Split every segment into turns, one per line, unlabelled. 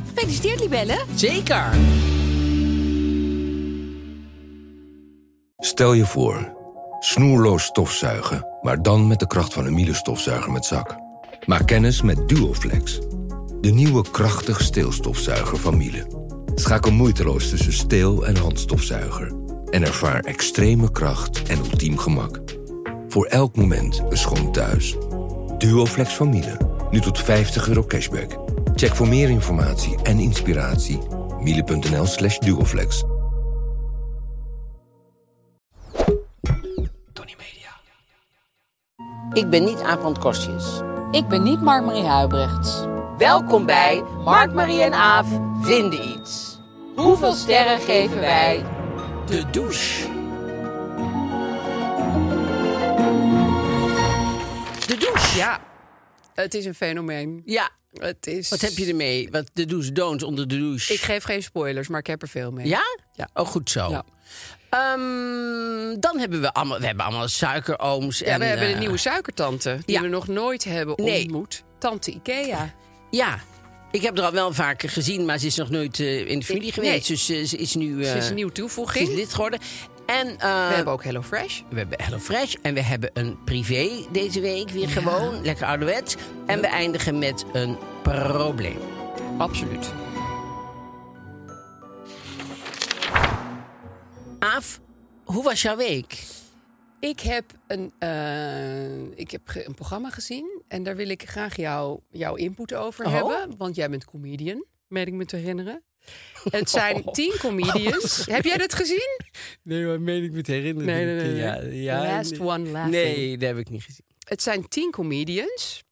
Gefeliciteerd, Libelle.
Zeker!
Stel je voor, snoerloos stofzuigen, maar dan met de kracht van een Miele stofzuiger met zak. Maak kennis met Duoflex, de nieuwe krachtig steelstofzuiger van Miele. Schakel moeiteloos tussen steel- en handstofzuiger en ervaar extreme kracht en ultiem gemak. Voor elk moment een schoon thuis. Duoflex van Miele, nu tot 50 euro cashback. Check voor meer informatie en inspiratie miele.nl slash duoflex.
Ik ben niet Aap van Kostjes.
Ik ben niet Mark-Marie Huibrechts.
Welkom bij Mark, Marie en Aaf vinden iets. Hoeveel sterren geven wij de douche? De douche.
Ja, het is een fenomeen.
Ja,
Het is...
wat heb je ermee? Wat de do's en don'ts onder de douche?
Ik geef geen spoilers, maar ik heb er veel mee.
Ja?
Ja.
Oh, goed zo.
Ja.
Ehm, dan hebben we allemaal, we hebben allemaal suikerooms.
Ja,
en,
we hebben
eh,
een nieuwe suikertante die
ja.
we nog nooit hebben
Nee. Eh.
ontmoet. Tante Ikea.
Ja, ik heb er al wel vaker gezien, maar ze is nog nooit eh, in de familie
Nee.
geweest. Dus eh, ze is nu...
Ze is
eh,
een nieuwe
ze
toevoeging.
is lid geworden. En, eh,
We hebben ook Hello Fresh.
We hebben HelloFresh en we hebben een privé deze week weer gewoon. Lekker ouderwets. En we eindigen met een probleem.
Absoluut.
Aaf, hoe was jouw week?
Ik heb, een, eh, ik heb ge- een programma gezien en daar wil ik graag jou, jouw input over
Oh.
hebben. Want jij bent comedian, meen ik me te herinneren. Het zijn
Oh.
tien comedians. Heb jij dat gezien?
Nee, maar meen ik me te herinneren.
Nee, nee, nee, Ja, nee. ja, Last nee. one laughing.
Nee, dat heb ik niet gezien.
het zijn tien comedians.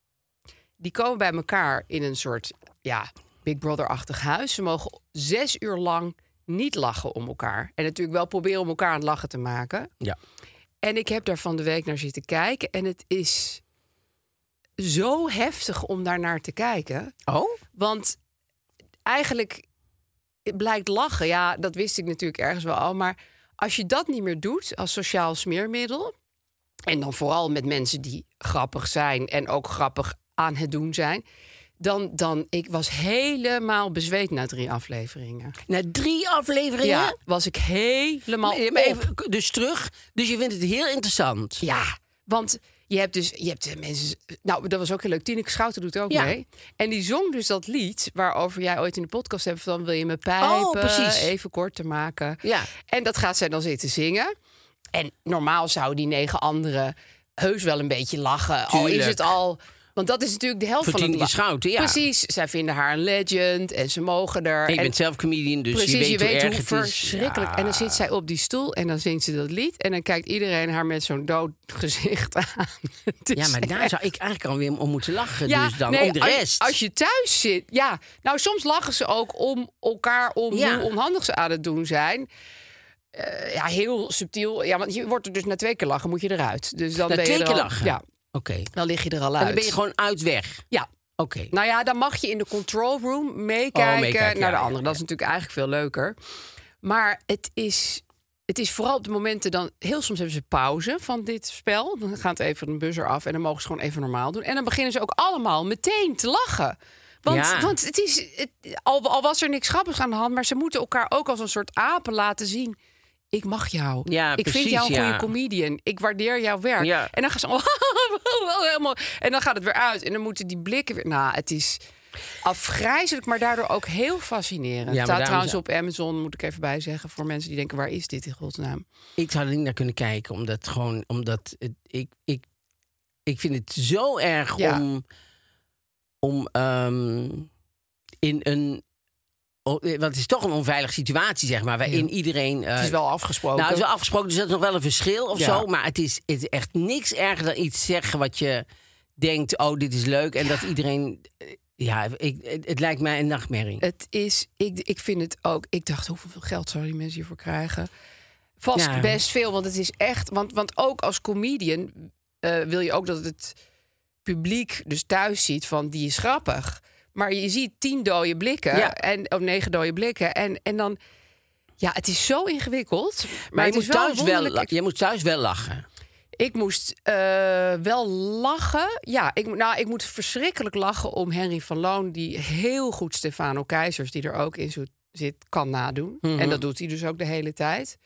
Die komen bij elkaar in een soort ja, Big Brother-achtig huis. Ze mogen zes uur lang niet lachen om elkaar. En natuurlijk wel proberen om elkaar aan het lachen te maken.
Ja.
En ik heb daar van de week naar zitten kijken. En het is zo heftig om daar naar te kijken.
Oh?
Want eigenlijk blijkt lachen. Ja, dat wist ik natuurlijk ergens wel al. Maar als je dat niet meer doet als sociaal smeermiddel. En dan vooral met mensen die grappig zijn en ook grappig aan het doen zijn. Dan, dan ik was helemaal bezweet na drie afleveringen.
Na drie afleveringen?
Ja, was ik helemaal.
Nee, maar
op.
even, k- dus terug. Dus je vindt het heel interessant.
Ja, want je hebt dus je hebt eh, mensen. Nou, dat was ook heel leuk. Tineke Schouten doet ook
Ja.
mee. En die zong dus dat lied waarover jij ooit in de podcast hebt van wil je me pijpen?
Oh, precies.
Even kort te maken.
Ja.
En dat gaat zij dan zitten zingen. En normaal zouden die negen anderen heus wel een beetje lachen. Al is
Tuurlijk.
het al. Want dat is natuurlijk de helft
Voor
van het
Tineke
la-
Schouten, ja.
Precies. Zij vinden haar een legend en ze mogen er.
Ik
En-
ben zelf comedian, dus
Precies,
je weet hoe erg het is.
verschrikkelijk.
Ja.
En dan zit zij op die stoel en dan zingt ze dat lied. En dan kijkt iedereen haar met zo'n dood gezicht aan. Het
Ja,
is
maar daar
echt-
zou ik eigenlijk alweer om moeten lachen.
Ja,
dus dan
nee,
om de
als-
rest.
Als, je thuis zit. Ja, nou soms lachen ze ook om elkaar om
Ja.
hoe onhandig ze aan het doen zijn. Eh, ja, heel subtiel. Ja, want je wordt er dus na twee keer lachen moet je eruit. Dus dan
Na
ben je
twee
er
keer
al-
lachen?
Ja,
Oké.
dan lig je er al uit.
En dan ben je gewoon uit weg.
Ja,
Oké.
nou ja, dan mag je in de control room meekijken
Oh, meekijken,
naar
ja,
de
ja,
ander. Dat is natuurlijk eigenlijk veel leuker. Maar het is, het is vooral op de momenten dan... Heel soms hebben ze pauze van dit spel. Dan gaat even een buzzer af en dan mogen ze gewoon even normaal doen. En dan beginnen ze ook allemaal meteen te lachen. Want,
Ja.
want het is, het- al, al was er niks grappigs aan de hand... maar ze moeten elkaar ook als een soort apen laten zien... Ik mag jou.
Ja,
ik vind
precies,
jou een goede
ja.
comedian. Ik waardeer jouw werk.
Ja.
En dan gaan ze oh, wel oh, helemaal. En dan gaat het weer uit. En dan moeten die blikken weer. Nou, het is afgrijzelijk, maar daardoor ook heel fascinerend.
maar
Ja, staat
daarom
trouwens
zou-
op Amazon, moet ik even bijzeggen. Voor mensen die denken: waar is dit in godsnaam?
Ik zou er niet naar kunnen kijken, omdat gewoon, omdat het, ik, ik, ik vind het zo erg
Ja.
om, om ehm, in een, o- eh, want het is toch een onveilige situatie, zeg maar, waarin iedereen. eh,
Het is wel afgesproken.
nou, het is wel afgesproken, dus dat is nog wel een verschil of
Ja.
zo. Maar het is, het is echt niks erger dan iets zeggen wat je denkt: oh, dit is leuk. En dat iedereen eh, Ja, ik, het, het lijkt mij een nachtmerrie.
Het is, ik, ik vind het ook. Ik dacht, hoeveel geld zouden die mensen hiervoor krijgen? Vast
Ja.
best veel, want het is echt. Want, want ook als comedian eh, wil je ook dat het publiek dus thuis ziet van die is grappig. Maar je ziet tien dode blikken
Ja.
en of negen dode blikken en en dan. Ja, het is zo ingewikkeld. Maar,
maar je
het
moet,
is wel
thuis wel,
wonderlijk-
la- je moet thuis wel lachen.
ik moest eh, wel lachen. Ja, ik, mo- nou, ik moet verschrikkelijk lachen om Henry van Loon... die heel goed Stefano Keizers, die er ook in zo- zit, kan nadoen.
Mhm.
En dat doet hij dus ook de hele tijd.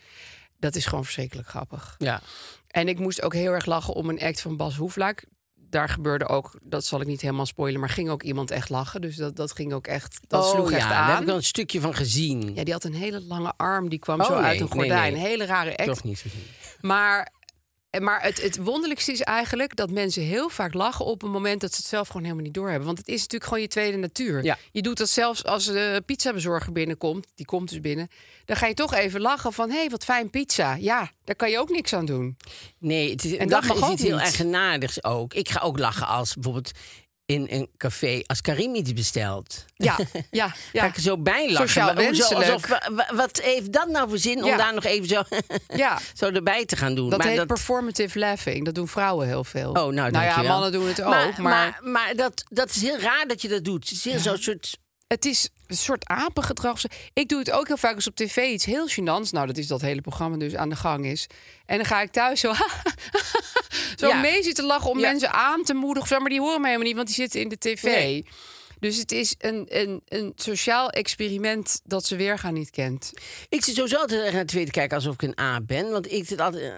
Dat is gewoon verschrikkelijk grappig.
Ja.
En ik moest ook heel erg lachen om een act van Bas Hoeflaak. Daar gebeurde ook, dat zal ik niet helemaal spoilen... maar ging ook iemand echt lachen. Dus dat, dat ging ook echt, dat sloeg
Oh ja,
echt
daar heb ik
aan.
wel een stukje van gezien.
Ja, die had een hele lange arm, die kwam
Oh,
zo
nee,
uit een
nee,
gordijn.
nee.
Hele rare act.
Toch niet gezien.
Maar, maar het, het wonderlijkste is eigenlijk dat mensen heel vaak lachen op een moment dat ze het zelf gewoon helemaal niet doorhebben. Want het is natuurlijk gewoon je tweede natuur.
Ja.
Je doet dat zelfs als de pizzabezorger binnenkomt, die komt dus binnen. Dan ga je toch even lachen van, hé, hey, wat fijn pizza. Ja, daar kan je ook niks aan doen.
Nee, het is,
dat
lachen
mag
is
ook
iets heel
niet.
eigenaardigs ook. Ik ga ook lachen als bijvoorbeeld in een café... als Karim iets bestelt.
Ja, ja,
Ga
ja.
ik er zo bij lachen.
Sociaal
Maar hoezo?
wenselijk.
Alsof, wa- wa- wat heeft dat nou voor zin om
Ja.
daar nog even zo,
Ja.
zo erbij te gaan doen?
Dat
Maar
heet performative laughing. Dat doen vrouwen heel veel.
Oh, nou,
ja,
dankjewel.
mannen doen het ook.
Maar,
maar
maar, maar dat, dat is heel raar dat je dat doet. Het is heel zo'n soort...
Het is een soort apengedrag. Ik doe het ook heel vaak als op tv iets heel gênants. Nou, dat is dat hele programma dus aan de gang is. En dan ga ik thuis zo, zo
Ja.
mee zitten lachen om
Ja.
mensen aan te moedigen. of zo, Maar die horen mij helemaal niet, want die zitten in de tv.
Nee.
Dus het is een, een, een sociaal experiment dat ze weerga niet kent.
Ik zit sowieso altijd erg naar tv te kijken alsof ik een A ben. Want ik zit altijd...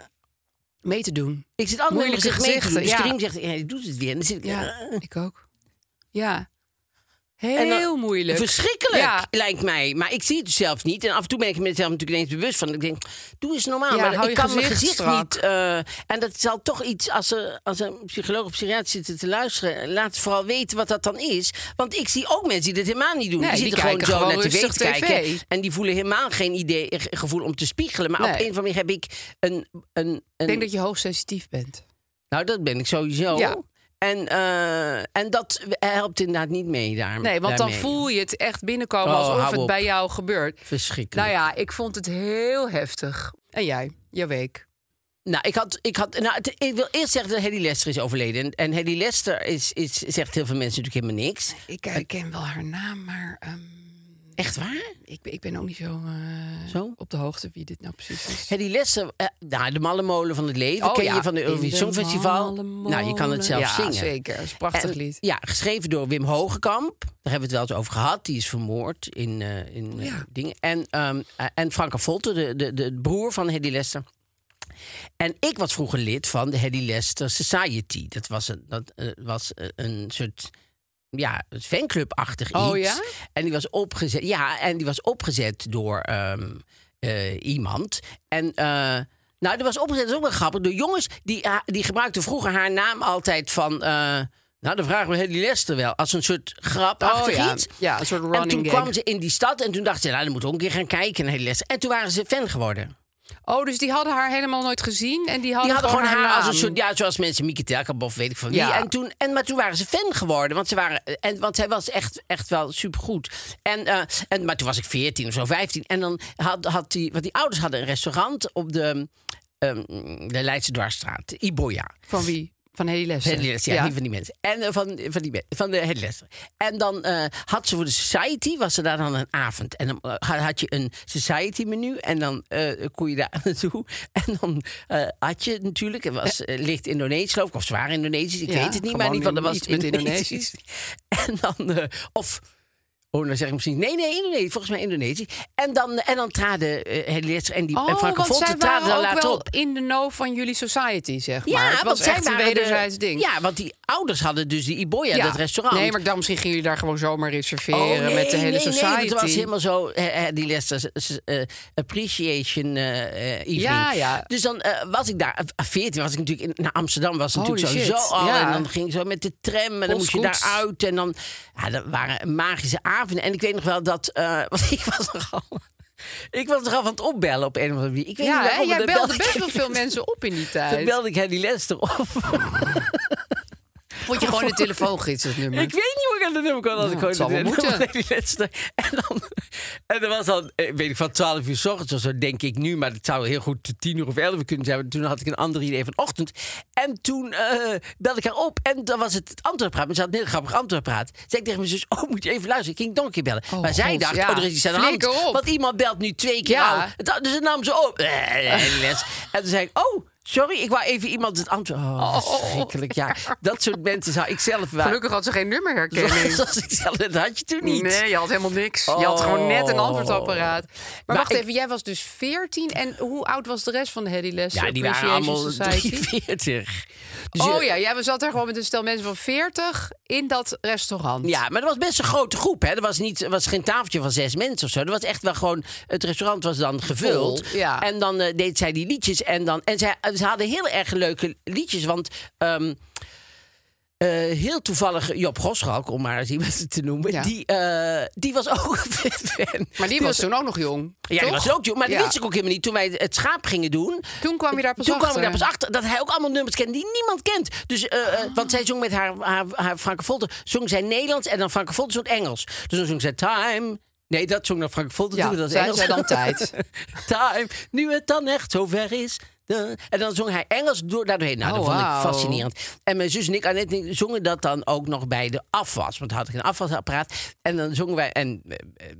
Mee te doen.
Ik zit altijd
Moeilijke
met mijn gezicht mee te doen. Dus Karim
gezichten,
zegt, hij doet het weer. En dan zit ik...
Ja, ik ook. Ja.
En dan-
Heel moeilijk.
Verschrikkelijk,
Ja.
lijkt mij. Maar Maar ik zie het dus zelf niet. En af en toe ben ik mezelf natuurlijk ineens bewust van. Ik denk, doe eens normaal.
Ja,
maar
hou
ik
je
kan mijn
gezicht
gezicht
strak.
niet. eh, en dat zal toch iets, als, er, als een psycholoog of psychiater zitten te luisteren... laat vooral weten wat dat dan is. Want ik zie ook mensen die dat helemaal niet doen.
Nee,
die
die
zitten gewoon
kijken
zo
gewoon
naar tv te
rustig tv.
kijken. En die voelen helemaal geen idee, ge- gevoel om te spiegelen. Maar
Nee.
op een of andere manier heb ik een... een, een
Ik denk dat je hoogsensitief bent.
Nou, dat ben ik sowieso.
Ja.
En, eh, en dat helpt inderdaad niet mee daar.
Nee, want dan
daarmee.
voel je het echt binnenkomen
Oh,
alsof
hou
het
op.
bij jou gebeurt.
Verschrikkelijk.
Nou ja, ik vond het heel heftig. En jij, jouw week.
Nou, ik had, ik had, nou, het- ik wil eerst zeggen dat Hedy Lester is overleden. En, en Hedy Lester is, is, zegt heel veel mensen natuurlijk helemaal niks.
Ik ken wel haar naam, maar ehm,
Echt waar?
ik, ik ben ook niet zo, eh,
Zo?
op de hoogte wie dit nou precies is.
Hedy Lester, eh, nou, de mallenmolen van het leven,
Oh
ken
ja,
je van de
in
Eurovisie
de
Songfestival.
Mallemolen.
Nou, je kan het zelf
Ja,
zingen.
zeker. Dat is een prachtig
En-
lied.
Ja, geschreven door Wim Hogekamp. Daar hebben we het wel eens over gehad. Die is vermoord in, eh, in eh,
Ja.
dingen. En, ehm eh, en Franka Volte, de, de, de broer van Hedy Lester. En ik was vroeger lid van de Hedy Lester Society. Dat was een, dat, eh, was eh, een soort ja, een fanclubachtig iets.
Oh ja?
En die was opgezet. Ja, en die was opgezet door ehm, eh, iemand. En eh, nou, die was opgezet. Dat is ook wel grappig. Door jongens die ha- die gebruikten vroeger haar naam altijd van. eh, nou, dan vragen we Hedy Lester wel. Als een soort grapachtig
Oh ja.
iets.
Ja, een soort
En
running
toen
gag.
kwam ze in die stad en toen dacht ze, nou, dan moeten we ook een keer gaan kijken naar Hedy Lester. En toen waren ze fan geworden.
Oh, dus die hadden haar helemaal nooit gezien en die hadden,
Die hadden gewoon haar, als
naam.
een soort, ja, zoals mensen Mieke Telkamp of weet ik van wie.
Ja.
En toen, en, maar toen waren ze fan geworden, want, ze waren, en, want zij was echt, echt wel supergoed. En, eh, en, maar toen was ik 14 of zo, 15. En dan had, had die, want die ouders hadden een restaurant op de, ehm, de Leidse Dwarsstraat, Iboya.
Van wie? Van Hedy Lester.
Headless, ja, die van die mensen. En eh, van, van, die, me- van de headless. En dan eh, had ze voor de society, was ze daar dan een avond. En dan eh, had- had je een society menu en dan eh, kon je daar naartoe. En dan eh, had je natuurlijk, het was eh, licht Indonesisch geloof ik, of zwaar Indonesisch, ik
Ja,
weet het niet. Maar
gewoon
in ieder geval, dat was
iets met Indonesisch.
En dan, eh, of... Oh, dan zeg ik misschien, nee, nee, Indonesisch, volgens mij Indonesisch. En dan, en dan traden eh Hedy Lester en, die,
Oh,
en Franke
want zij
Volte traden
waren
dan
ook
later
wel
op.
in de know van jullie society, zeg maar.
Ja,
het
want
was
zij
echt een
waren de-
wederzijds ding.
Ja, want die ouders hadden dus die Iboya, dat restaurant. Oh,
Nee, maar dan misschien gingen jullie daar gewoon zomaar reserveren met de hele
nee,
society.
Nee, want het was helemaal zo, eh, eh, die Lester eh, appreciation eh eh, evening.
Ja, ja.
Dus dan eh, was ik daar, eh, 14 was ik natuurlijk, in, naar Amsterdam was het
Holy
natuurlijk sowieso
shit,
al.
ja.
En dan ging ik zo met de tram en dan moest je
Postkoets.
daaruit. En dan, ja, dat waren magische avonden. En ik weet nog wel dat, eh, want ik was nogal... Ik was nogal van het opbellen op een of andere manier. Ik weet
ja,
niet
hè,
waarom,
jij
maar dat
belde
ik
best wel
echt.
veel mensen op in die
Toen
tijd.
belde ik Hedy Lester op.
Moet je gewoon de telefoongids het nummer?
Ik weet niet hoe ik aan dat nummer kwam. Als
Nou,
ik
het zal
gewoon
wel
het
moeten.
nummer die laatste. En dan, en dan was dan, eh, weet ik van 12 uur s ochtends of zo, denk ik nu. Maar het zou heel goed 10 uur of 11 uur kunnen zijn. want toen had ik een ander idee van ochtend. En toen eh, belde ik haar op. En dan was het het antwoordpraat. Maar ze had een heel grappig antwoordpraat. Zei ik tegen mijn zus, oh, moet je even luisteren. Ik ging nog een keer bellen. maar zij
God,
dacht,
ja.
oh, er is iets aan de hand.
Flikker op.
Want iemand belt nu twee keer
Ja.
al. Het- Dus ze nam ze op. Eh, eh, les. En toen zei ik, oh... Sorry, ik wou even iemand het antwoord. Oh, wat verschrikkelijk. Ja, dat soort mensen zou ik zelf wel.
Gelukkig had ze geen nummerherkenning.
Zoals ik zelf, dat had je toen niet. Oh.
Nee, je had helemaal niks. Je had gewoon net een antwoordapparaat. Maar,
Maar
wacht
ik-
even, jij was dus 14. En hoe oud was de rest van de Hedy Lester
Ja, die waren
Appreciation
allemaal
Society?
43. Dus
Oh
je-
ja, jij zat daar gewoon met een stel mensen van 40 in dat restaurant.
Ja, maar dat was best een grote groep. Hè. Er was, niet, er was geen tafeltje van zes mensen of zo. Er was echt wel gewoon... Het restaurant was dan gevuld.
Vol, ja.
En dan eh, deed zij die liedjes. En, dan, en zij, ze hadden heel erg leuke liedjes. Want ehm, eh, heel toevallig Job Goschalk, om maar eens iemand te noemen...
Ja.
Die, eh, die was ook een fan.
Maar die was toen ook nog jong.
Ja, die
toch?
was ook jong. Maar dat
Ja.
wist ik ook helemaal niet. Toen wij het schaap gingen doen...
Toen kwam je daar pas
Toen
achter.
kwam ik daar pas achter dat hij ook allemaal nummers kende die niemand kent. Dus, eh, eh,
Ah.
Want zij zong met haar, haar, haar Franke Volter, zong zij Nederlands en dan Franke Volter zong Engels. Dus dan zong zij Time. Nee, dat zong dan Franke Volter.
Ja,
toen, dat is
zij-
Engels.
zij dan tijd.
time, nu het dan echt zover is. De- En dan zong hij Engels door, daardoorheen. Nou, dat
Oh,
vond ik
wauw.
fascinerend. En mijn zus en ik, Annette, en ik, zongen dat dan ook nog bij de afwas. Want dan had ik een afwasapparaat. En dan zongen wij, en eh,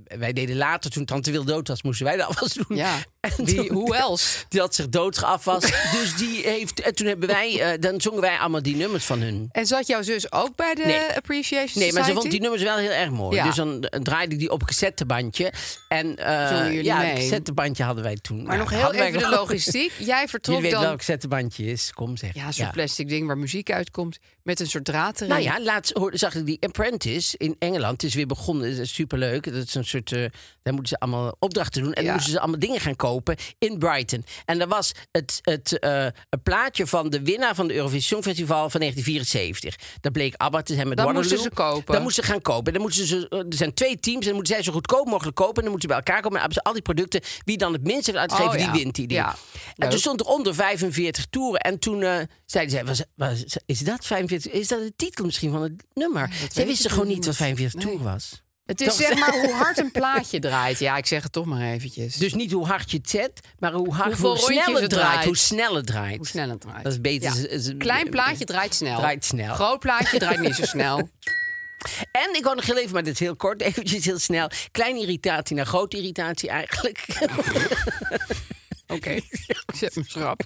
eh, wij deden later, toen Tante Wil dood was, moesten wij de afwas doen.
Ja.
En
Die,
toen-
hoe else?
die had zich doodgeafwast. dus die heeft. En toen hebben wij. eh, dan zongen wij allemaal die nummers van hun.
En zat jouw zus ook bij de
Nee.
Appreciation
Nee, maar ze
Society?
vond die nummers wel heel erg mooi.
Ja.
Dus dan eh, draaide ik die op een cassettebandje. En eh,
Zongen jullie
ja,
mee?
een cassettebandje hadden wij toen.
Maar
Ja,
nog heel
hadden wij
even de
wel.
logistiek. Jij
Jullie
vertrok
weten
dan...
welk cassettebandje is. Kom zeg.
Ja, zo'n plastic ding waar muziek uitkomt. Met een soort draad erin.
Nou ja, laatst hoorde, zag ik die Apprentice in Engeland. Het is weer begonnen. Het is superleuk. Dat is een soort. eh, daar moeten ze allemaal opdrachten doen. En
Ja.
dan moesten ze allemaal dingen gaan kopen in Brighton. En daar was het, het eh, een plaatje van de winnaar van de Eurovisie Songfestival van 1974. Dat bleek ABBA te zijn met
Dat
Waterloo.
moesten ze kopen.
Dat moesten ze gaan kopen. Dan moesten ze, eh, er zijn twee teams. En dan moeten zij zo goedkoop mogelijk kopen. En dan moeten ze bij elkaar komen. En dan hebben ze al die producten. Wie dan het minst heeft uitgegeven,
Oh, ja.
die wint die dingen.
Ja.
En toen
Leuk.
stond er onder 45 toeren. En toen eh, zeiden zij, was, was- is dat 45? Is dat de titel misschien van het nummer? Zij
weet
wisten
ik
gewoon
niet.
niet wat 45
Nee.
toeren was.
Het is
Dat-
zeg maar hoe hard een plaatje draait. Ja, ik zeg het toch maar eventjes.
Dus niet hoe hard je het zet, maar hoe, hard,
Hoeveel
hoe snel
rondjes
het
het
draait.
draait.
Hoe snel het draait.
hoe snel het draait.
Dat is beter.
Ja.
Is- is-
Klein plaatje draait snel.
Draait snel.
Groot plaatje draait niet zo snel.
En ik wou nog heel even, maar dit is heel kort, eventjes heel snel. Kleine irritatie naar grote irritatie eigenlijk.
Oké, ik zet hem schrap.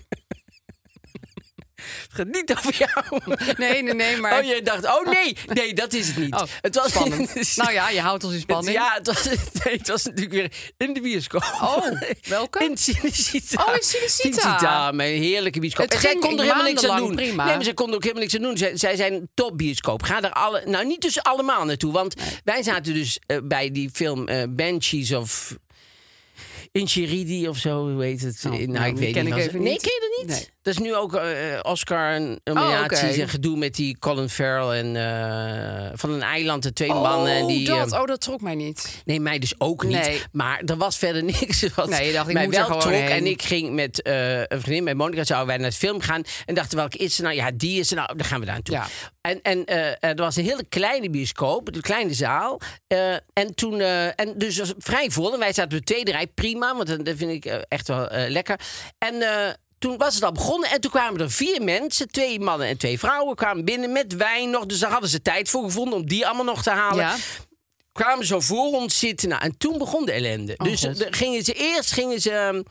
Het gaat niet over jou.
Nee, nee, nee, maar...
Oh, je dacht, oh nee, nee, dat is het niet.
Oh,
het was
spannend. nou ja, je houdt ons in spanning.
Ja, het was, nee, het was natuurlijk weer in de bioscoop.
Oh, welke?
In Cinecita.
Oh, in Cinecita.
Cinecita, mijn heerlijke bioscoop.
Het
en zij
ging
kon er helemaal niks aan doen.
maandenlang prima.
Nee, maar zij kon er ook helemaal niks aan doen. Zij, zij zijn topbioscoop. Ga daar alle, nou niet dus allemaal naartoe. Want wij zaten dus eh, bij die film eh Banshees of... Inchiridi of zo, hoe heet het?
Oh,
Eh, nou,
nou,
ik
die
weet
ken
niet.
ik
wat-
even
nee,
niet.
ken je dat niet?
Nee. Oh,
Dat is nu ook eh, Oscar en nominaties
oké.
en gedoe met die Colin Farrell en eh, van een eiland, de twee mannen. En die,
dat,
eh,
oh, dat trok mij niet.
Nee, mij dus ook niet.
Nee.
Maar er was verder niks wat
Nee, je dacht, ik
mij
moet er
wel
gewoon
trok.
heen.
En ik ging met eh, een vriendin, met Monica zouden wij naar het film gaan. En dachten, welke is ze nou? Ja, die is er nou. Dan gaan we daar naartoe.
Ja.
En, en eh, er was een hele kleine bioscoop, een kleine zaal. Eh, en toen, eh, en dus het was vrij vol. En wij zaten op de tweede rij, prima. Want dat- dat vind ik eh, echt wel eh, lekker. En... eh, toen was het al begonnen en toen kwamen er vier mensen, twee mannen en twee vrouwen, kwamen binnen met wijn nog. Dus daar hadden ze tijd voor gevonden om die allemaal nog te halen
Ja.
kwamen zo voor ons zitten. Nou, en toen begon de ellende. dus
Oh, God.
eh, gingen ze, eerst gingen ze ehm,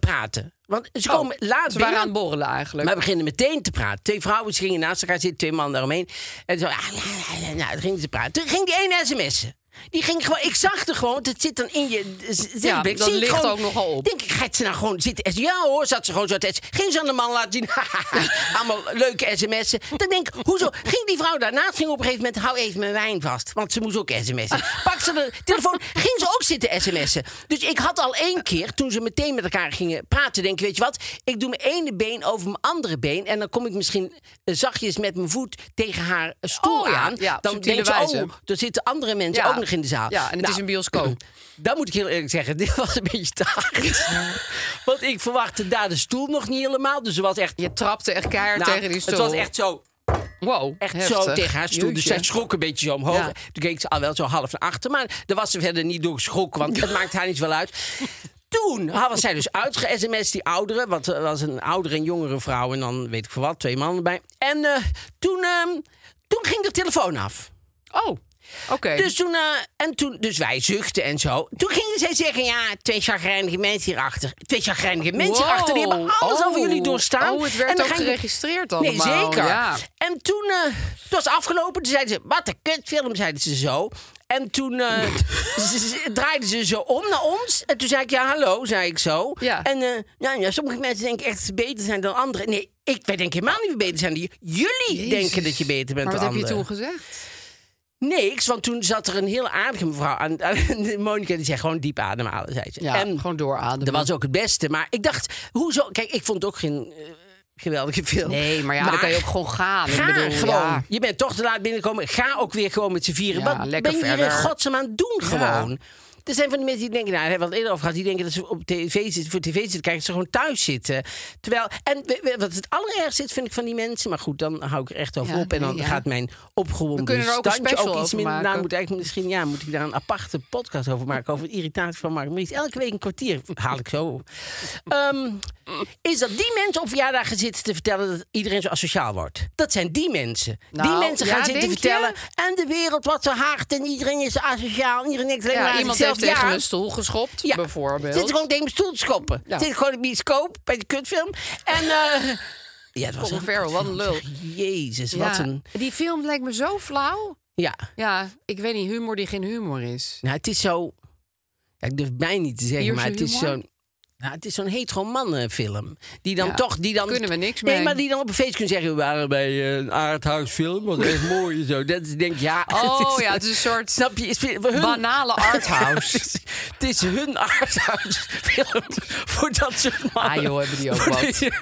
praten. Want ze komen laat
Oh, Ze waren
binnen.
aan het borrelen eigenlijk.
Maar we beginnen meteen te praten. Twee vrouwen ze gingen naast elkaar zitten, twee mannen daaromheen. En zo, ah, la, la, la, nou, toen gingen ze praten. Toen ging die ene sms'en. Die ging gewoon, ik zag er gewoon, want het zit dan in je eh, z- zichtblik.
dat
Zie ik
ligt
gewoon-
ook nogal op.
Denk ik, gaat ze nou gewoon zitten? sms'en? Ja hoor, zat ze gewoon zo te sms'en. Ging ze aan de man laten zien. Allemaal leuke sms'en. Dan denk ik, hoezo? Ging die vrouw daarnaast, ging op een gegeven moment, hou even mijn wijn vast. Want ze moest ook sms'en. Pak ze de telefoon, ging ze ook zitten sms'en. Dus ik had al één keer, toen ze meteen met elkaar gingen praten, denk ik, weet je wat? Ik doe mijn ene been over mijn andere been. En dan kom ik misschien eh, zachtjes met mijn voet tegen haar eh, stoel
Oh ja,
aan.
ja,
dan
subtiele
denk ze,
wijze.
oh, er zitten andere mensen
Ja.
ook nog in de zaal. Nou,
Ja, en het is een bioscoop.
Dan moet ik heel eerlijk zeggen, dit was een beetje taart. Want ik verwachtte daar de stoel nog niet helemaal. Dus er was echt...
Je trapte echt keihard
nou,
tegen die stoel.
Het was echt zo...
Wow,
Echt zo
heftig.
tegen haar stoel. Dus
Jeetje.
zij schrok een beetje zo omhoog.
Ja.
Toen keek ze al wel zo half naar achter. Maar daar was ze verder niet door geschrokken, want het maakt haar niet wel uit. Toen hadden zij dus uitge-sms, die oudere. Want er was een oudere en jongere vrouw. En dan weet ik voor wat, twee mannen erbij. En eh, toen, ehm, toen ging de telefoon af.
Oh, oké.
Dus, toen, eh, en toen, dus wij zuchten en zo. Toen gingen zij zeggen, ja, twee chagrijnige mensen hierachter. Twee chagrijnige mensen
Wow.
hierachter. Die hebben alles
Oh.
over jullie doorstaan.
Oh, het werd
En dan
ook
gaan je-
geregistreerd
Nee,
allemaal.
zeker.
Ja.
En toen, eh, het was afgelopen, toen zeiden ze, wat een kutfilm, zeiden ze zo. En toen eh, ze- ze- draaiden ze zo om naar ons. En toen zei ik, ja, hallo, zei ik zo.
Ja.
En eh, nou, ja, sommige mensen denken echt dat ze beter zijn dan anderen. Nee, ik, wij denken helemaal niet dat we beter zijn dan jullie. Jullie denken dat je beter bent
Maar wat
dan
heb je
anderen.
toen gezegd?
Niks, want toen zat er een heel aardige mevrouw aan. aan Monika die zei gewoon diep ademhalen, zei ze.
Ja,
en
gewoon doorademen.
dat was ook het beste. Maar ik dacht, hoezo? Kijk, ik vond het ook geen eh, geweldige film.
Nee, maar ja, dan kan je ook gewoon gaan. Ik
Ga
bedoel,
gewoon.
ja.
Je bent toch te laat binnenkomen. Ga ook weer gewoon met z'n vieren.
Ja,
Wat ben
lekker
je hier in
verder.
godsnaam aan het doen
Ja.
gewoon? Er zijn van die mensen die denken, nou, daar hebben we het eerder over gehad. Die denken dat ze op tv zitten, voor tv zitten kijken, dat ze gewoon thuis zitten. Terwijl, en we- we- wat het allerergste is, vind ik van die mensen. Maar goed, dan hou ik er echt over
Ja,
op. En dan
nee, ja.
gaat mijn
We
opgewonden
kunnen er ook een
standje
special
ook iets
over
minder. Nou,
maken.
moet eigenlijk misschien, ja, moet ik daar een aparte podcast over maken. Over de irritatie van Mark Maries. Elke week een kwartier haal ik zo. Ehm, is dat die mensen op verjaardagen zitten te vertellen dat iedereen zo asociaal wordt. Dat zijn die mensen.
Nou,
die mensen
ja,
gaan zitten
denk je?
vertellen. En de wereld wat zo hard en iedereen is asociaal. en Iedereen denkt alleen maar
Ja,
aan
iemand
zichzelf.
heeft tegen
Ja,
een stoel geschopt,
ja.
bijvoorbeeld.
Zit gewoon tegen mijn stoel te schoppen.
Ja.
Zit gewoon in de bioscoop bij de kutfilm. En eh ja, het was
Colin
een
Farrell, wat een
kutfilm,
lul.
zeg. Jezus,
Ja.
wat een...
Die film lijkt me zo flauw.
Ja,
Ja, ik weet niet, humor die geen humor is.
nou, het is zo... Ja, ik durf bijna niet te zeggen,
Ierse
maar het is
humor?
zo'n... Nou, het is zo'n hetero mannenfilm. Die dan
Ja,
toch... Die dan,
kunnen we niks
Nee,
mee.
maar die dan op een feest kunnen zeggen... We waren bij eh, een aardhuisfilm, wat echt mooi en zo. Dat is denk ik, ja...
Oh
is-
ja, het is een soort
Snap je? Is, hun,
banale arthouse.
Het is- Het is hun arthouse film voor dat soort mannen.
Ah, joh, hebben die ook
Voor
wat.
die-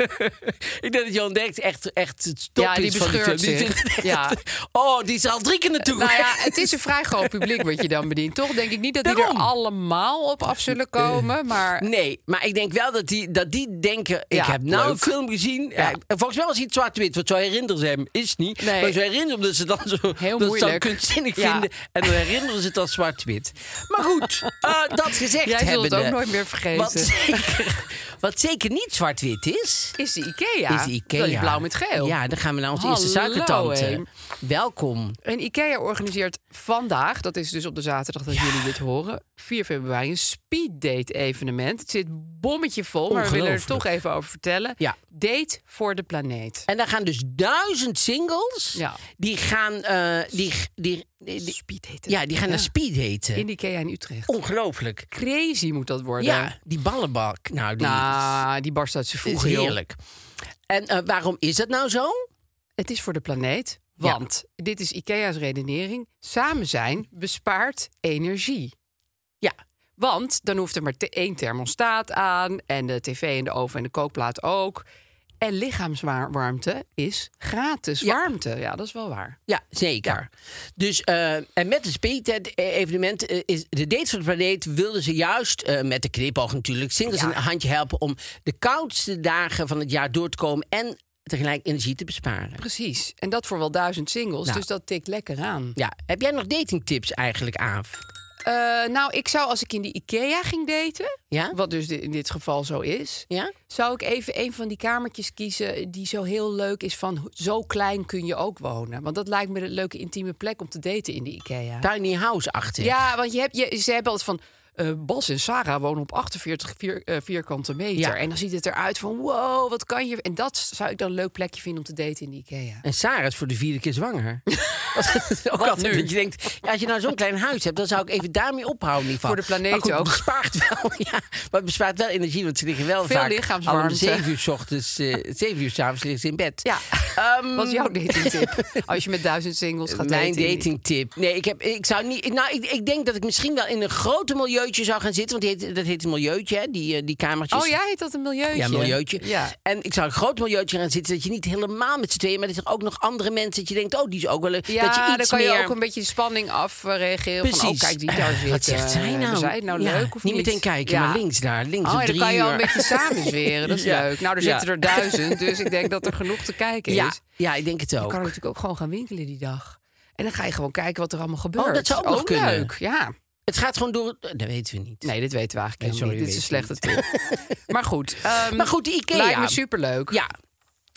ik denk dat Johan denkt echt, echt het top
Ja, die
is van die film.
bescheurt
Die
zich.
vindt-
Ja.
Oh, die is er al drie keer naartoe.
Nou ja, het is een vrij groot publiek wat je dan bedient, toch? Denk ik niet dat die er
Daarom. Eh,
allemaal op af zullen komen, maar...
Nee, maar ik denk wel dat die, dat die denken... Ik
Ja,
heb nou
leuk.
een film gezien. Ja. volgens mij was het zwart-wit, want zo herinneren ze hem. Is het niet.
Nee.
Maar ze herinneren hem dat ze dan zo,
Heel
dat ze dan
moeilijk.
kunstzinnig
Ja.
vinden. En dan herinneren ze het als zwart-wit. Maar goed, eh, dat gezegd
Jij zult het
hebbende,
ook nooit meer vergeten.
Wat zeker, wat zeker niet zwart-wit is...
Is de Ikea?
Is de Ikea.
Dat is blauw met geel.
Ja, dan gaan we naar onze eerste
Hallo, hé.
suikertante. Welkom.
En Ikea organiseert vandaag, dat is dus op de zaterdag dat jullie dit horen, 4 februari, een speeddate evenement. Het zit bommetje vol, maar we willen er
Ongelooflijk.
toch even over vertellen.
Ja.
Date voor de planeet.
En daar gaan dus duizend singles.
Ja.
Die gaan... eh, die, die, die- die-
Speeddate.
ja, die gaan naar speed
In
heten.
de Ikea in Utrecht.
Ongelooflijk.
Crazy moet dat worden.
Ja, die ballenbak. Nou, die
Nou, die barst uit zijn
is
voegen. joh.
heerlijk. En eh, waarom is dat nou zo?
Het is voor de planeet,
Ja.
want dit is IKEA's redenering. Samen zijn bespaart energie.
Ja.
Want dan hoeft er maar te- één thermostaat aan en de tv en de oven en de kookplaat ook. En lichaamswarmte is gratis
Ja.
warmte. Ja, dat is wel waar.
Ja, zeker. Dus, eh, en met het speed-evenement eh, is de Date van de Planeet... wilden ze juist, eh, met de knipoog natuurlijk, singles
Ja.
een handje helpen... om de koudste dagen van het jaar door te komen... en tegelijk energie te besparen.
Precies. En dat voor wel duizend singles,
Nou.
dus dat tikt lekker aan.
Ja, heb jij nog datingtips eigenlijk, Aaf?
Eh, nou, ik zou als ik in de IKEA ging daten,
Ja?
wat dus di- in dit geval zo is...
Ja?
Zou ik even een van die kamertjes kiezen die zo heel leuk is van ho- zo klein kun je ook wonen? Want dat lijkt me een leuke intieme plek om te daten in de IKEA.
Tiny House-achtig.
Ja, want je hebt, je, ze hebben altijd van eh, Bas en Sarah wonen op 48 vier, eh, vierkante meter.
Ja.
En dan ziet het eruit van wow, wat kan je? En dat zou ik dan een leuk plekje vinden om te daten in de IKEA.
En Sarah is voor de vierde keer zwanger. Dat is ook altijd
nu?
dat je denkt, ja, als je nou zo'n klein huis hebt... dan zou ik even daarmee ophouden. Niet van.
Voor de planeet
maar goed, het
ook.
bespaart wel, ja. Maar het bespaart wel energie, want ze liggen wel
Veel
vaak...
lichaamswarmte.
al om zeven uur s ochtends, eh, zeven uur s'avonds liggen ze in bed.
Ja.
Ehm,
Wat is jouw datingtip? Als je met duizend singles gaat
Mijn
daten. in de-
datingtip. Nee, ik, heb, ik zou niet. Nou, ik, ik denk dat ik misschien wel in een groter milieu milieuutje zou gaan zitten. Want die heet, dat heet een milieutje, hè? Die, eh, die kamertjes.
Oh ja, heet dat een milieutje?
Ja, milieutje.
Ja.
En ik zou een groot milieutje gaan zitten. Dat je niet helemaal met z'n tweeën, maar dat er ook nog andere mensen. Dat je denkt, oh, die is ook wel leuk. dat je
Ja,
iets
dan kan je
meer...
ook een beetje de spanning afreageren. Van, oh,
Precies.
kijk, die daar
Eh,
zit.
Wat zegt zij nou?
Zij het nou
Ja,
leuk of niet?
meteen kijken,
Ja.
maar links daar. Links
Oh,
om
en dan
drie
kan je al een
uur.
beetje samenzweren. Dat is
Ja.
leuk. Nou, er
Ja.
zitten er duizend, dus ik denk dat er genoeg te kijken
ja,
is.
ja, ik denk het
Je
ook.
kan natuurlijk ook gewoon gaan winkelen die dag. En dan ga je gewoon kijken wat er allemaal gebeurt.
Oh,
Oh,
dat zou ook nog kunnen.
leuk. Ja.
Het gaat gewoon door... Dat weten we niet.
Nee, dit weten we eigenlijk
Nee,
helemaal
sorry,
niet. Dit is een
weet
slechte tip. maar goed. ehm,
Maar goed, de Ikea.
Lijkt me superleuk.
Ja.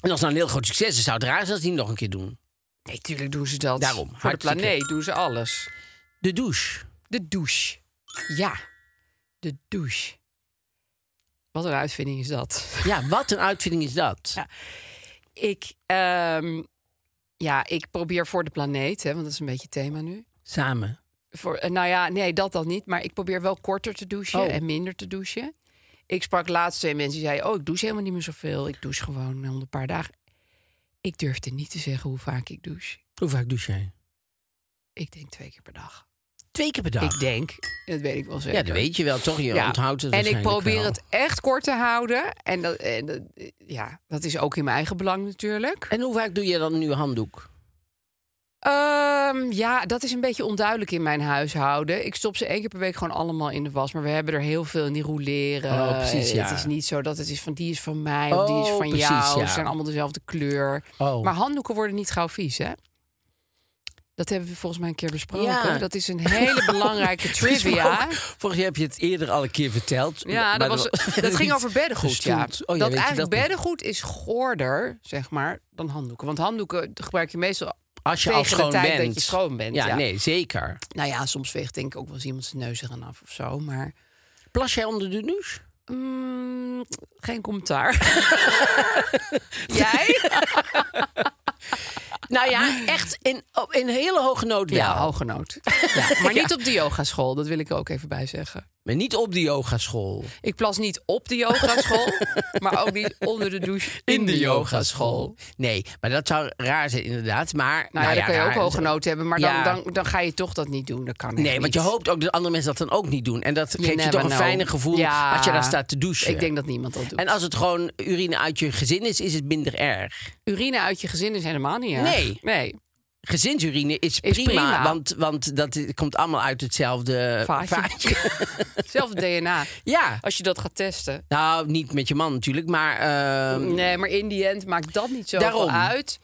En als het nou een heel groot succes is, zou het raar zijn als die nog een keer doen.
Nee, tuurlijk doen ze dat.
Daarom,
Voor de
hartstikke.
planeet doen ze alles.
De douche.
De douche. Ja, de douche. Wat een uitvinding is dat.
Ja, wat een uitvinding is dat.
Ja. Ik, ehm, ja, ik probeer voor de planeet, hè, want dat is een beetje het thema nu.
Samen.
Voor, eh, nou ja, nee, dat dan niet. Maar ik probeer wel korter te douchen
Oh.
en minder te douchen. Ik sprak laatst twee mensen die zeiden... oh, ik douche helemaal niet meer zoveel. Ik douche gewoon om de paar dagen. Ik durfde niet te zeggen hoe vaak ik douche.
Hoe vaak douche jij?
Ik denk twee keer per dag.
Twee keer per dag.
Ik denk, dat weet ik wel zeker.
ja, dat weet je wel, toch? Je
Ja.
onthoudt het
En ik
waarschijnlijk
probeer
wel.
het echt kort te houden. En, dat, en dat, ja, dat is ook in mijn eigen belang natuurlijk.
En hoe vaak doe je dan nu handdoek?
Ehm, ja, dat is een beetje onduidelijk in mijn huishouden. Ik stop ze één keer per week gewoon allemaal in de was. Maar we hebben er heel veel in die rouleren.
Oh, precies, ja.
Het is niet zo dat het is van die is van mij of die is
Oh,
van
precies,
jou.
ja.
Ze zijn allemaal dezelfde kleur.
Oh.
Maar handdoeken worden niet gauw vies, hè? Dat hebben we volgens mij een keer besproken.
Ja.
Dat is een hele belangrijke trivia.
Volgens je heb je het eerder al een keer verteld.
Ja,
maar
dat, was,
er
dat ging
niet
over beddengoed. Ja.
gestoeld. Oh, ja,
dat
weet je
eigenlijk
dat nog?
beddengoed is goorder, zeg maar, dan handdoeken. Want handdoeken gebruik je meestal
Als je
tegen
al schoon
de tijd
bent.
dat je schoon bent.
ja,
Ja,
nee, zeker.
Nou ja, soms veegt denk ik ook wel eens iemand zijn neus eraan af of zo. Maar
Plas jij onder de douche?
mm, geen commentaar. Jij?
Nou ja, echt in, op- in hele hoge nood wel.
Ja, hooggenoot. Ja, maar niet op de yogaschool, dat wil ik er ook even bij zeggen.
Maar niet op de yogaschool.
Ik plas niet op de yogaschool, maar ook niet onder de douche in, de yogaschool.
Nee, maar dat zou raar zijn inderdaad. Maar,
Nou, ja, dan kan je
raar-
ook hooggenoot hebben, maar dan,
Ja.
dan, dan ga je toch dat niet doen. Dat kan echt
Nee, want je
niet.
hoopt ook dat andere mensen dat dan ook niet doen. En dat geeft je
never
toch een
know.
fijner gevoel
Ja.
als je daar staat te douchen.
Ik denk dat niemand dat doet.
En als het gewoon urine uit je gezin is, is het minder erg.
urine uit je gezin is helemaal niet erg.
Nee.
Nee.
Gezinsurine is prima,
Is prima.
Want, want dat komt allemaal uit hetzelfde
Vaatje. Zelfde DNA.
ja,
Als je dat gaat testen.
nou niet met je man natuurlijk, maar ehm,
Nee, maar in die end maakt dat niet zoveel
Daarom.
uit.